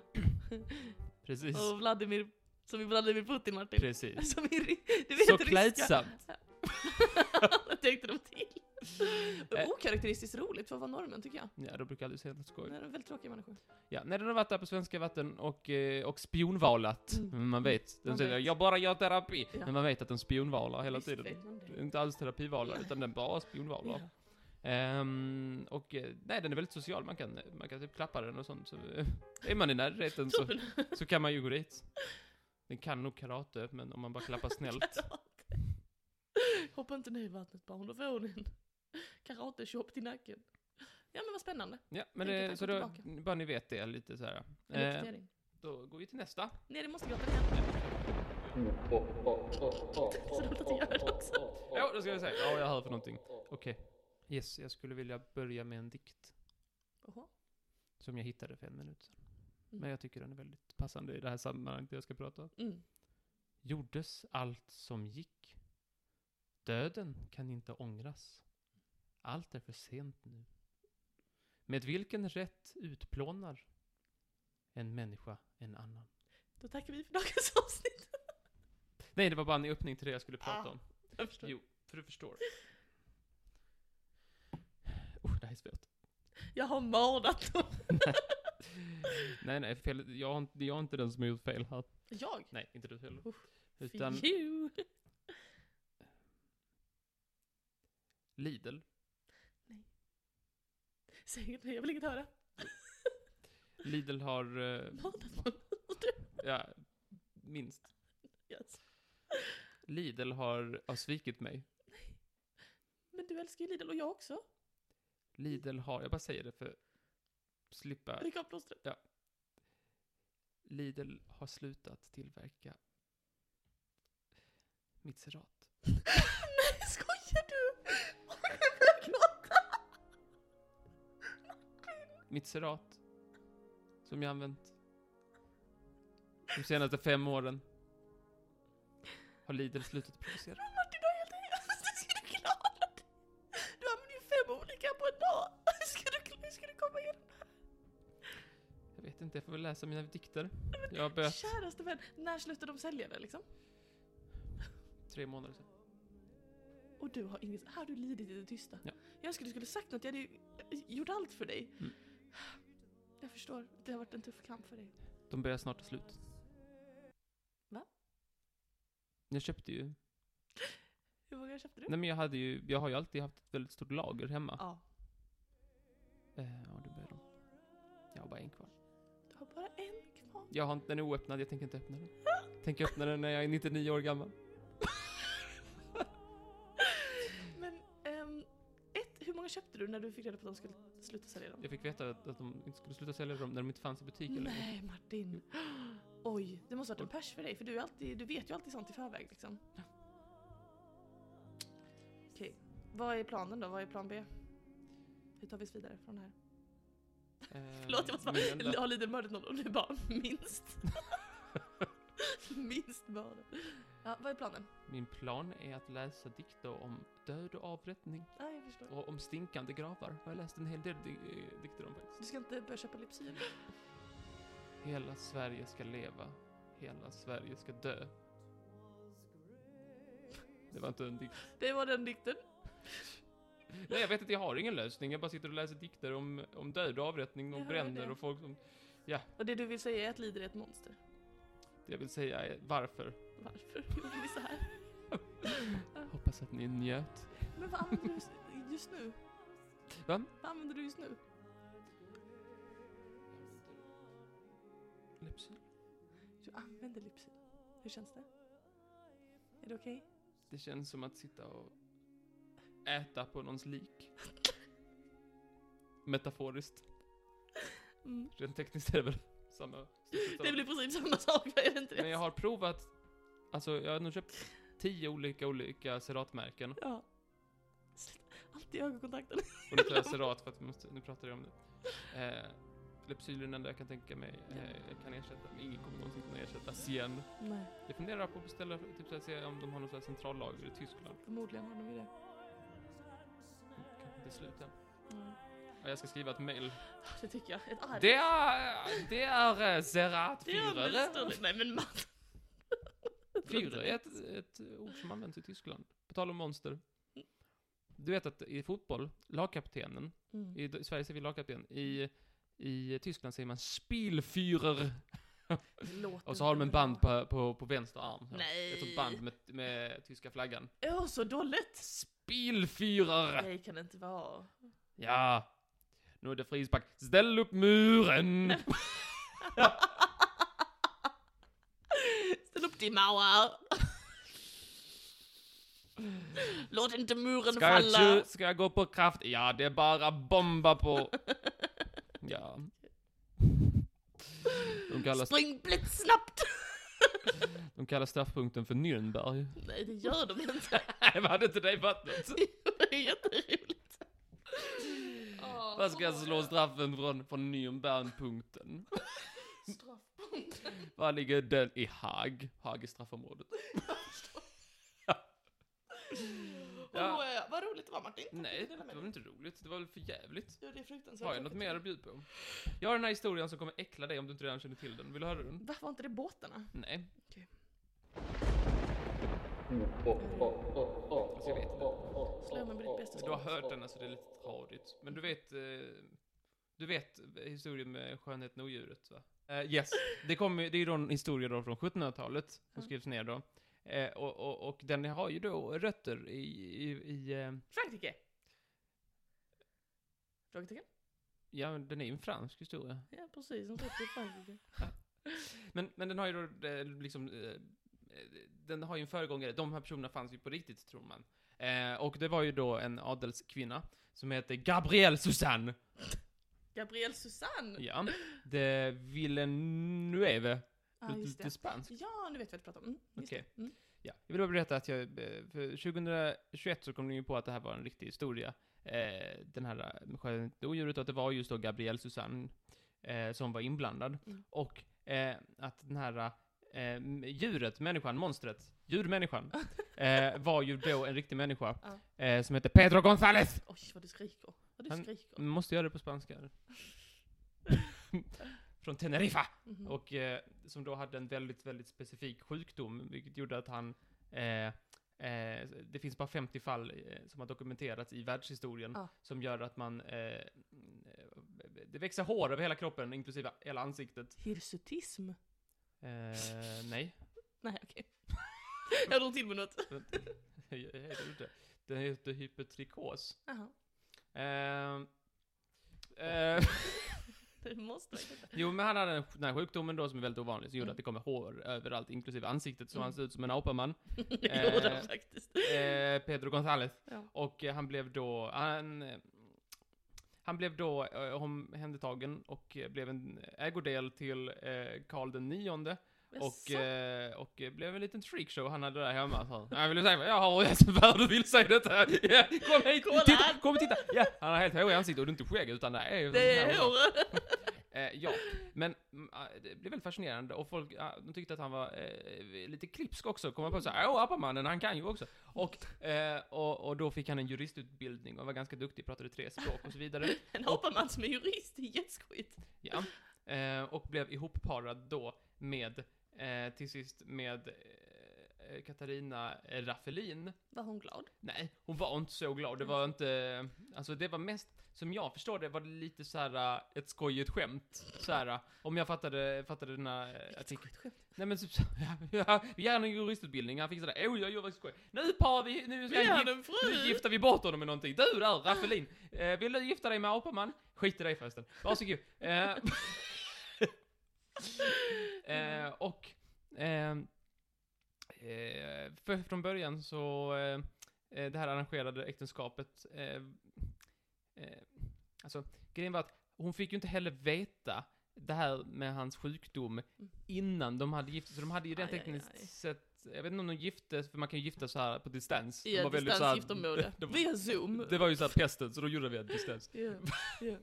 Speaker 3: precis.
Speaker 2: Och Vladimir, som i Vladimir Putin Martin.
Speaker 3: Precis.
Speaker 2: <laughs> Som i, ri- du vet
Speaker 3: Så
Speaker 2: ryska. <laughs>
Speaker 3: klädsamt.
Speaker 2: Jag tänkte de till.
Speaker 3: Eh.
Speaker 2: Okaraktäristiskt roligt för att vara norrmän tycker jag.
Speaker 3: Ja, de brukar aldrig säga något skoj.
Speaker 2: De är väldigt tråkiga människor.
Speaker 3: Ja, när den har varit där på svenska vatten och, eh, och spionvalat.
Speaker 2: Mm.
Speaker 3: Man vet. Den
Speaker 2: Man
Speaker 3: säger
Speaker 2: vet.
Speaker 3: jag bara gör terapi.
Speaker 2: Ja.
Speaker 3: Men man vet att den spionvalar hela
Speaker 2: Visst
Speaker 3: tiden.
Speaker 2: vet man
Speaker 3: Det
Speaker 2: det.
Speaker 3: är Inte alls terapivalar,
Speaker 2: Nej.
Speaker 3: utan den bara spionvalar.
Speaker 2: Ja.
Speaker 3: Ehm, och eh, nej, den är väldigt social. Man kan, man kan typ klappa den och sånt. Så, eh, är man i närheten så, så kan man ju gå dit. Den kan nog karate, men om man bara klappar snällt.
Speaker 2: <laughs> Hoppa inte ner i vattnet barn, då får hon en <laughs> karate-chop till nacken. Ja men vad spännande.
Speaker 3: Ja, men
Speaker 2: Tänker
Speaker 3: det,
Speaker 2: att
Speaker 3: så
Speaker 2: gå
Speaker 3: då, bara ni vet det lite så här.
Speaker 2: En
Speaker 3: Eh,
Speaker 2: uppdatering.
Speaker 3: då går vi till nästa.
Speaker 2: Nej det måste grottan igen. Så roligt att du gör det också.
Speaker 3: Ja, då ska vi se. Ja, jag hör för någonting. Okej. Yes, jag skulle vilja börja med en dikt
Speaker 2: Oho.
Speaker 3: som jag hittade för en minut sedan. Men jag tycker den är väldigt passande i det här sammanhanget jag ska prata om.
Speaker 2: Mm.
Speaker 3: Gjordes allt som gick. Döden kan inte ångras. Allt är för sent nu. Med vilken rätt utplånar en människa en annan?
Speaker 2: Då tackar vi för dagens avsnitt.
Speaker 3: Nej, det var bara en öppning till det jag skulle prata
Speaker 2: Ah.
Speaker 3: om.
Speaker 2: Jag förstår.
Speaker 3: Jo, för du förstår. Oh, det här är svårt.
Speaker 2: Jag har mördat dem.
Speaker 3: Nej, nej, fel. Jag, har inte- jag är inte den som har gjort fel här.
Speaker 2: Jag?
Speaker 3: Nej, inte du heller.
Speaker 2: Usch,
Speaker 3: Utan
Speaker 2: För you. <laughs>
Speaker 3: Lidl.
Speaker 2: Säg inte, jag vill inget höra.
Speaker 3: Lidl har, eh,
Speaker 2: Mördat någon.
Speaker 3: ja, minst.
Speaker 2: <laughs> Yes.
Speaker 3: Lidl har, har svikit mig.
Speaker 2: Men du älskar ju Lidl och jag också.
Speaker 3: Lidl har, jag bara säger det för att slippa.
Speaker 2: Ryck av plåstret. <laughs>
Speaker 3: Lidl har slutat tillverka Mizerat.
Speaker 2: Nej, skojar du? <laughs> Jag börjar gråta. <laughs>
Speaker 3: Mizerat. Som jag använt de senaste fem åren. Har Lidl slutat producera.
Speaker 2: Men Martin, du har helt rätt. Hur "Alltså, ska du klara det? Du använder ju fem olika på en dag. <laughs> Hur ska du, hur ska du komma igenom det här?
Speaker 3: Jag vet inte, jag får väl läsa mina dikter. Jag har börjat
Speaker 2: Käraste vän, när slutar de sälja det liksom?
Speaker 3: tre månader sedan.
Speaker 2: Och du har inget, här har du lidit i det tysta.
Speaker 3: Ja.
Speaker 2: Jag önskar du skulle sagt något, jag hade ju eh, gjort allt för dig.
Speaker 3: Mm.
Speaker 2: Jag förstår, att det har varit en tuff kamp för dig.
Speaker 3: De börjar snart ta slut.
Speaker 2: Va? Mm.
Speaker 3: Jag köpte ju.
Speaker 2: Hur många köpte du?
Speaker 3: Nej men jag hade ju, jag har ju alltid haft ett väldigt stort lager hemma.
Speaker 2: Ja.
Speaker 3: Eh, ja, det börjar de. Jag har bara en kvar.
Speaker 2: Du har bara en kvar. <laughs>
Speaker 3: Jag har inte, den är oöppnad, jag tänker inte öppna den. Tänker öppna den när jag är 99 år gammal.
Speaker 2: Men, ehm, ett, hur många köpte du när du fick reda på att de skulle sluta sälja dem?
Speaker 3: Jag fick veta att, att de inte skulle sluta sälja dem när de inte fanns i butiken längre.
Speaker 2: Nej Martin! Oj, det måste varit en pers för dig för du, är alltid, du vet ju alltid sånt i förväg liksom. Okej, vad är planen då? Vad är plan B? Hur tar vi oss vidare från det här?
Speaker 3: Eh,
Speaker 2: Förlåt, jag måste bara...
Speaker 3: min enda-
Speaker 2: Har Lidl mördat någon? Och du bara minst. minst mördat. Ja, vad är planen?
Speaker 3: Min plan är att läsa dikter om död och avrättning
Speaker 2: Ja, jag förstår.
Speaker 3: och om stinkande gravar. Jag har läst en hel del di- eh, dikter om faktiskt.
Speaker 2: Du ska inte börja köpa Lypsyl?
Speaker 3: Hela Sverige ska leva. Hela Sverige ska dö. Det var inte en dikt.
Speaker 2: Det var den dikten.
Speaker 3: Nej, jag vet inte, jag har ingen lösning. Jag bara sitter och läser dikter om, om död och avrättning och
Speaker 2: Jag hör
Speaker 3: bränder
Speaker 2: det.
Speaker 3: och folk som...
Speaker 2: Och det du vill säga är att Lidl är ett monster.
Speaker 3: Det jag vill säga är varför.
Speaker 2: Varför gjorde vi så här?
Speaker 3: Hoppas att ni njöt.
Speaker 2: Men vad använder du just nu?
Speaker 3: Va?
Speaker 2: Vad använder du just nu?
Speaker 3: Lypsyl.
Speaker 2: Du använder Lypsyl. Hur känns det? Är det okej?
Speaker 3: Det känns som att sitta och äta på någons lik. Metaforiskt.
Speaker 2: Mm.
Speaker 3: Rent tekniskt är det väl samma.
Speaker 2: Det blir precis samma sak, är det inte det?
Speaker 3: Men jag har provat, alltså jag har nog köpt tio olika olika Cerat-märken.
Speaker 2: Ja. Sluta. Alltid ögonkontakten.
Speaker 3: Och nu
Speaker 2: <laughs>
Speaker 3: tar jag Cerat för att vi måste, nu pratar jag om det. Eh, Lypsyl är den enda jag kan tänka mig eh, kan ersätta, men ingen kommer någonsin kunna ersätta Sien.
Speaker 2: Nej,
Speaker 3: Jag funderar på att beställa, typ såhär, se om de har något sånt här centrallager i Tyskland.
Speaker 2: förmodligen har de ju det.
Speaker 3: Kanske inte slut än.
Speaker 2: Mm. Ah,
Speaker 3: Ja, jag ska skriva ett mail.
Speaker 2: Det tycker jag. Ett arv.
Speaker 3: Det är, det är eh, Cerat
Speaker 2: Det är alldeles
Speaker 3: 4.
Speaker 2: större. Nej men man.
Speaker 3: Fyra är ett, ett ord som används i Tyskland. På tal om monster. Du vet att i fotboll, lagkaptenen,
Speaker 2: Mm.
Speaker 3: i, i Sverige säger vi lagkapten, i, i Tyskland säger man Spielführer.
Speaker 2: Det låter
Speaker 3: Och så har de en
Speaker 2: inte bra.
Speaker 3: band på, på, på vänster arm. här.
Speaker 2: Nej.
Speaker 3: Ett sånt band med, med tyska flaggan.
Speaker 2: Åh, så dåligt!
Speaker 3: Spielführer!
Speaker 2: Nej, kan det inte vara.
Speaker 3: Ja. Nu är det frispark. Ställ upp muren!
Speaker 2: Ställ upp din mauer! Mm. Låt inte muren
Speaker 3: Ska jag,
Speaker 2: falla!
Speaker 3: tju- ska jag gå på kraft? Ja, det är bara bomba på. Ja. De kallar,
Speaker 2: Spring blixtsnabbt!
Speaker 3: de kallar straffpunkten för Nürnberg.
Speaker 2: Nej, det gör de inte.
Speaker 3: Nej, vad hade inte det i vattnet?
Speaker 2: Det är jätteroligt.
Speaker 3: Vad ska jag slå straffen från, från Nürnbergpunkten?
Speaker 2: Straffpunkten.
Speaker 3: Var ligger den i Haag? Haag är straffområdet. Ja.
Speaker 2: ja. ja. Vad roligt det var Martin. Tack för
Speaker 3: Nej,
Speaker 2: att
Speaker 3: det
Speaker 2: du delade
Speaker 3: var
Speaker 2: med
Speaker 3: väl
Speaker 2: dig.
Speaker 3: inte roligt. Det var väl för jävligt.
Speaker 2: Ja, det är fruktansvärt.
Speaker 3: Har jag något
Speaker 2: tråkigt.
Speaker 3: mer att bjuda på? Jag har den här historien som kommer äckla dig om du inte redan känner till den. Vill du höra den?
Speaker 2: Va, var inte det båtarna?
Speaker 3: Nej.
Speaker 2: Okej.
Speaker 3: Alltså, jag vet inte.
Speaker 2: Slå mig med ditt bästa
Speaker 3: Du har
Speaker 2: skott.
Speaker 3: hört den, alltså det är lite tradigt. Men du vet, eh, du vet historien med skönheten och djuret va? Eh, yes, det, kom, ju- det är ju då en historia då från 1700-talet som
Speaker 2: Ja.
Speaker 3: skrivs ner då. Eh, och, och, och den har ju då rötter i, i, i eh,
Speaker 2: Frankrike. Frågetecken?
Speaker 3: ja men den är ju en fransk historia.
Speaker 2: Ja, precis. Som sagt, det är Frankrike.
Speaker 3: Men, men den har ju då eh, liksom, eh, eh, den har ju en föregångare, de här personerna fanns ju på riktigt tror man. Eh, och det var ju då en adelskvinna som heter Gabrielle Susanne.
Speaker 2: Gabrielle Susanne!
Speaker 3: Ja, de Villanueva.
Speaker 2: ah, just
Speaker 3: lite
Speaker 2: det.
Speaker 3: spanskt.
Speaker 2: Ja, nu vet vi vad du pratar om. Mm, just
Speaker 3: Okej.
Speaker 2: det. Mm.
Speaker 3: Ja, jag vill bara berätta att jag, eh, för 2021 så kom ni ju på att det här var en riktig historia. Eh, den här eh, skönheten och odjuret, och att det var just då Gabrielle Susanne eh, som var inblandad.
Speaker 2: Mm.
Speaker 3: Och eh, att den här eh, djuret, människan, monstret,
Speaker 2: <laughs>
Speaker 3: djurmänniskan, eh, var ju då en riktig människa eh, som hette Pedro González.
Speaker 2: Oj, vad du skriker. Vad du
Speaker 3: Han-
Speaker 2: skriker.
Speaker 3: Man måste göra det på spanska.
Speaker 2: <laughs>
Speaker 3: Från Teneriffa.
Speaker 2: Mhm.
Speaker 3: Och eh, som då hade en väldigt, väldigt specifik sjukdom, vilket gjorde att han... Eh, eh, det finns bara 50 fall eh, som har dokumenterats i världshistorien
Speaker 2: Ah.
Speaker 3: som gör att man... Eh, eh, det växer hår över hela kroppen, inklusive hela ansiktet.
Speaker 2: Hirsutism?
Speaker 3: Eh, nej, <laughs>
Speaker 2: Nej, okej. jag drog till med något.
Speaker 3: det heter det inte. Det heter hypotrikos.
Speaker 2: <laughs> Jaha.
Speaker 3: Eh, eh,
Speaker 2: Det måste jag inte.
Speaker 3: jo, men han hade den- den här sjukdomen då som är väldigt ovanlig, som gjorde
Speaker 2: Mm.
Speaker 3: att det kommer hår överallt, inklusive ansiktet, så
Speaker 2: Mm.
Speaker 3: han ser ut som en apaman.
Speaker 2: <laughs> Det gjorde
Speaker 3: Eh.
Speaker 2: jag faktiskt.
Speaker 3: Eh, Pedro González.
Speaker 2: Ja.
Speaker 3: Och eh, han blev då, han, eh, han blev då eh, omhändertagen och eh, blev en ägodel till eh, Karl den nionde. Och,
Speaker 2: Jaså?
Speaker 3: eh, och eh, blev en liten freakshow han hade där hemma. Så, han, jag vill säga, jag har rätt vad du vill säga detta. Ja, kom hit,
Speaker 2: Kolla
Speaker 3: titta,
Speaker 2: här."
Speaker 3: kom och titta. Ja, han har helt hår i ansiktet och det är inte skägg utan det är
Speaker 2: det är hår.
Speaker 3: Eh, ja, men mm, ah, det blev väldigt fascinerande och folk ah, de tyckte att han var eh, lite klipsk också, kom man på såhär åh appamannen, han kan ju också. Och, eh, och, och då fick han en juristutbildning och var ganska duktig, pratade tre språk och så vidare.
Speaker 2: En apaman som är jurist, det är jätteskojigt.
Speaker 3: Ja. Eh, och blev ihopparad då med, eh, till sist med eh, Katarina Raffelin.
Speaker 2: Var hon glad?
Speaker 3: Nej, hon var inte så glad. Det var inte, alltså det var mest, som jag förstår det var det lite så här eh, ett skojigt skämt. Så här, eh, om jag fattade, fattade den här eh, artikeln.
Speaker 2: Vilket skämt.
Speaker 3: Nej men typ så- <laughs> ja, vi ger honom en juristutbildning, han fixar det. Oj, oj, oj vad skoj. Nu parar vi, nu, ska
Speaker 2: Vi
Speaker 3: jag
Speaker 2: hade
Speaker 3: gif-
Speaker 2: en
Speaker 3: nu
Speaker 2: fru!
Speaker 3: gifter vi bort honom med någonting. Du där, Raffelin. Eh, vill du gifta dig med Apaman? Skit i dig förresten. Varsågod. Eh, <laughs> eh, och... Eh, eh, för, från början så... Eh, eh, det här arrangerade äktenskapet... Eh, eh, alltså, grejen var att hon fick ju inte heller veta det här med hans sjukdom innan de hade gift sig. Så de hade ju rent
Speaker 2: Mm. Aj, aj,
Speaker 3: tekniskt
Speaker 2: aj.
Speaker 3: sett... Jag vet inte om de gifte för man kan ju gifta så här på distans.
Speaker 2: I
Speaker 3: de
Speaker 2: ett
Speaker 3: var väldigt så här- <laughs>
Speaker 2: distansgiftermål.
Speaker 3: de var-
Speaker 2: Via zoom.
Speaker 3: det var ju såhär pesten, så då gjorde vi att distans. <laughs>
Speaker 2: Ja. <laughs> Ja.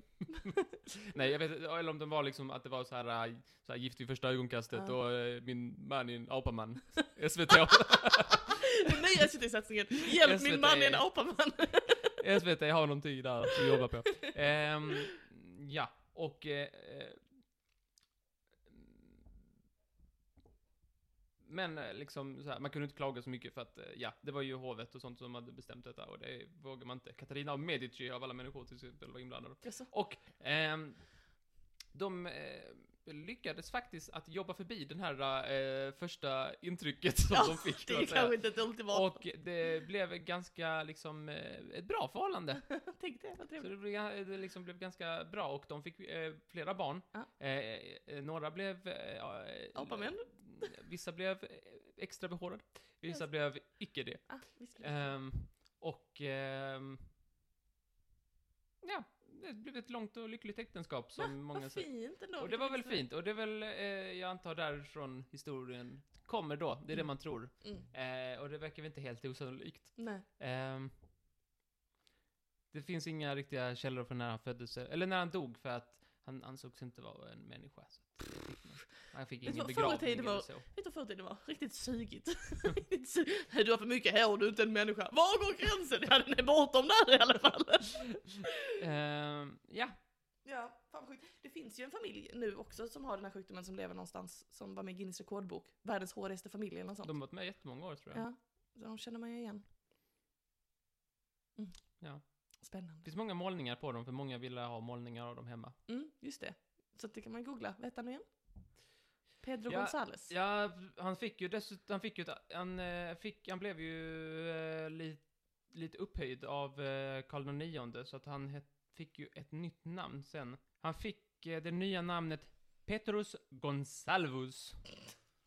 Speaker 3: Nej, jag vet inte, eller om de var liksom att det var såhär, äh, såhär gift vid första ögonkastet
Speaker 2: Ja.
Speaker 3: och eh, min man är en apaman. <laughs> SVT,
Speaker 2: Den nya SVT-satsningen. Hjälp min
Speaker 3: SVT.
Speaker 2: man är en
Speaker 3: <laughs>
Speaker 2: apaman.
Speaker 3: SVT har någonting där att jobba på. Ehm, ja, och... eh, eh, men eh, liksom, så här, man kunde inte klaga så mycket för att, eh, ja, det var ju hovet och sånt som hade bestämt detta och det vågar man inte. Katarina av Medici av alla människor till exempel var inblandad.
Speaker 2: Jaså?
Speaker 3: Och ehm, de eh, lyckades faktiskt att jobba förbi den här eh, första intrycket som de fick.
Speaker 2: det
Speaker 3: så
Speaker 2: är
Speaker 3: att säga.
Speaker 2: kanske inte ett ultimatum.
Speaker 3: Och det blev ganska liksom eh, ett bra förhållande.
Speaker 2: <laughs> Tänk det, vad
Speaker 3: Så
Speaker 2: trevligt.
Speaker 3: det, blev, ga- det liksom blev ganska bra och de fick eh, flera barn.
Speaker 2: Ja.
Speaker 3: Eh, eh, några blev... Eh, ja, eh,
Speaker 2: Apamän.
Speaker 3: Vissa blev eh, extra behårade. Vissa
Speaker 2: Yes.
Speaker 3: blev icke det.
Speaker 2: Ah, visst.
Speaker 3: Ehm, och... ehm, ja, det blev ett långt och lyckligt äktenskap som många
Speaker 2: Vad
Speaker 3: säger.
Speaker 2: fint ändå.
Speaker 3: Och det var väl
Speaker 2: Vilken
Speaker 3: fint, och det är väl, eh, jag antar därifrån historien kommer då, det är det
Speaker 2: Mm.
Speaker 3: man tror.
Speaker 2: Mm.
Speaker 3: Eh, och det verkar väl inte helt osannolikt.
Speaker 2: Nej.
Speaker 3: Ehm, det finns inga riktiga källor för när han föddes, eller när han dog, för att han ansågs inte vara en människa. Så. Jag fick
Speaker 2: Vet du
Speaker 3: ingen
Speaker 2: vad, förr i
Speaker 3: begravning
Speaker 2: tiden var-
Speaker 3: eller så.
Speaker 2: Vet du hur fult det var? Riktigt sugigt. <laughs> Riktigt su- Nej, du har för mycket hår, du är inte en människa. Var går gränsen? Ja, den är bortom där i alla fall.
Speaker 3: Ehm, ja,
Speaker 2: Ja, fan vad sjukt. Det finns ju en familj nu också som har den här sjukdomen som lever någonstans, som var med i Guinness rekordbok. Världens hårigaste familj eller något sånt.
Speaker 3: de har varit med jättemånga år tror jag.
Speaker 2: Ja, så de känner man ju igen. Mm.
Speaker 3: Ja. Det
Speaker 2: Spännande.
Speaker 3: finns många målningar på dem, för många ville ha målningar av dem hemma.
Speaker 2: Mm, just det. Så att det kan man googla. Vad hette han nu igen? Pedro
Speaker 3: Ja,
Speaker 2: Gonzales.
Speaker 3: Ja, han fick ju dessutom, han fick ju, ett, han, eh, fick, han blev ju eh, li, lite upphöjd av eh, Karl IX, så att han het, fick ju ett nytt namn sen. Han fick eh, det nya namnet Petrus Gonsalvus.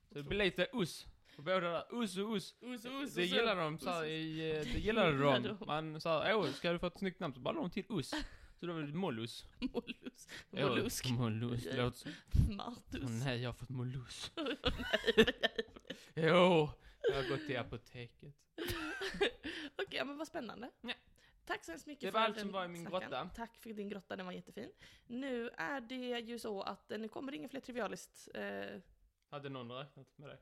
Speaker 3: Så det blir lite us på båda där. Us och us.
Speaker 2: Us, us,
Speaker 3: Det
Speaker 2: us,
Speaker 3: gillar
Speaker 2: us.
Speaker 3: de, så här,
Speaker 2: us.
Speaker 3: i, eh, det
Speaker 2: <laughs>
Speaker 3: gillar
Speaker 2: Gillar
Speaker 3: de.
Speaker 2: de.
Speaker 3: Man sa, åh, ska du få ett snyggt namn? Så bara la de till us. Så då blev det mollus.
Speaker 2: Mollus.
Speaker 3: Åh,
Speaker 2: Mollusk.
Speaker 3: Mollus, det låter som,
Speaker 2: Martus.
Speaker 3: åh nej, jag har fått mollus.
Speaker 2: <laughs> Okej,
Speaker 3: Jo, jag har gått till apoteket.
Speaker 2: <laughs> men vad spännande.
Speaker 3: Ja.
Speaker 2: Tack så hemskt mycket
Speaker 3: Det
Speaker 2: för
Speaker 3: var allt
Speaker 2: den
Speaker 3: som var i min
Speaker 2: snackaren.
Speaker 3: grotta.
Speaker 2: Tack för din grotta, den var jättefin. Nu är det ju så att eh, nu kommer det inga fler trivialist. Eh,
Speaker 3: Hade någon räknat med det?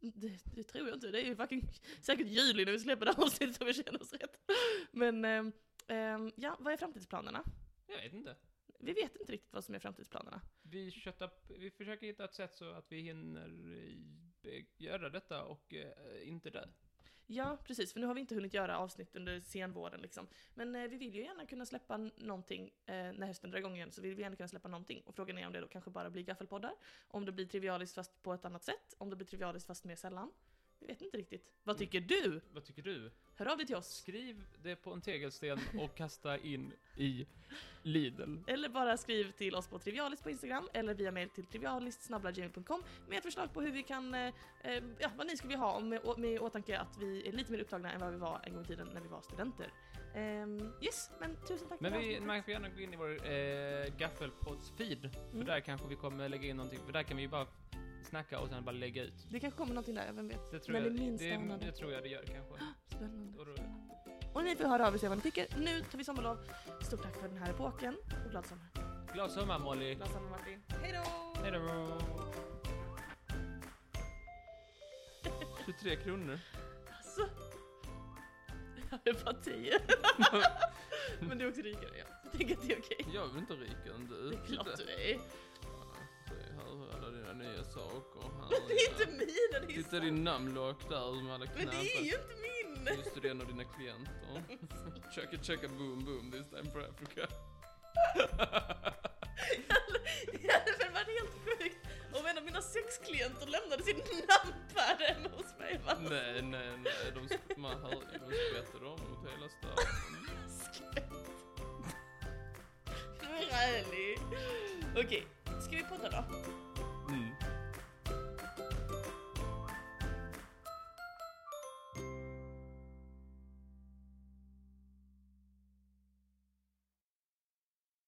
Speaker 2: det, det tror jag inte, det är ju fucking säkert juli när vi släpper det här avsnittet om vi känner oss rätt. Men ehm, ehm, ja, vad är framtidsplanerna?
Speaker 3: Jag vet inte.
Speaker 2: Vi vet inte riktigt vad som är framtidsplanerna.
Speaker 3: Vi, köttar, vi försöker hitta ett sätt så att vi hinner eh, göra detta och eh, inte dö.
Speaker 2: Ja, precis. För nu har vi inte hunnit göra avsnitt under senvåren liksom. Men eh, vi vill ju gärna kunna släppa n- någonting eh, när hösten drar igång igen. Så vill vi gärna kunna släppa någonting. Och frågan är om det då kanske bara blir gaffelpoddar. Om det blir trivialiskt fast på ett annat sätt. Om det blir trivialiskt fast mer sällan. Vi vet inte riktigt. Vad
Speaker 3: Mm.
Speaker 2: tycker du?
Speaker 3: Vad tycker du?
Speaker 2: Hör av dig till oss.
Speaker 3: Skriv det på en tegelsten och kasta in i Lidl.
Speaker 2: Eller bara skriv till oss på trivialist på Instagram eller via mail till trivialist.gmail.com med ett förslag på hur vi kan, eh, eh, ja vad ni skulle vilja ha med, med i åtanke att vi är lite mer upptagna än vad vi var en gång i tiden när vi var studenter. Ehm, yes, men tusen tack
Speaker 3: Men
Speaker 2: för
Speaker 3: vi,
Speaker 2: avsnittet.
Speaker 3: man får gärna gå in i vår eh, gaffelpods-feed, för
Speaker 2: Mm.
Speaker 3: där kanske vi kommer lägga in någonting, för där kan vi ju bara snacka och sen bara lägga ut.
Speaker 2: Det kanske kommer någonting där, vem vet?
Speaker 3: Det tror,
Speaker 2: Men
Speaker 3: jag,
Speaker 2: det minsta
Speaker 3: det,
Speaker 2: anade.
Speaker 3: det tror jag det gör kanske.
Speaker 2: Spännande.
Speaker 3: Och då,
Speaker 2: Och ni får höra av er och se vad ni tycker. Nu tar vi sommarlov. Stort tack för den här epoken och glad sommar.
Speaker 3: glad sommar Molly!
Speaker 2: Glad sommar Martin. Hej då!
Speaker 3: Hej då! 23 kronor.
Speaker 2: Alltså. <laughs> Jag hade bara
Speaker 3: <laughs>
Speaker 2: 10. men du är också rikare ja. Jag tänker att det är
Speaker 3: <laughs>
Speaker 2: okej.
Speaker 4: Jag är väl inte rikare än du?
Speaker 2: Det är klart du är.
Speaker 4: Hör alla dina nya saker.
Speaker 2: <laughs> Det är inte mina, det är
Speaker 4: Titta
Speaker 2: sant.
Speaker 4: din namnlock där med alla
Speaker 2: Men det är ju
Speaker 4: knappar.
Speaker 2: inte min!
Speaker 4: Just det, det är en av dina
Speaker 2: <laughs>
Speaker 4: klienter. Checka checka boom boom this time for Africa.
Speaker 2: Det hade väl varit helt sjukt om en av mina sexklienter lämnade sin namnpad hemma hos mig va?
Speaker 4: Nej, nej, nej. De, sp- man hör, ju, de skvätter dem mot hela staden.
Speaker 2: Skvätt. Nu är jag ärlig. Okej, ska vi podda då?
Speaker 4: Mm.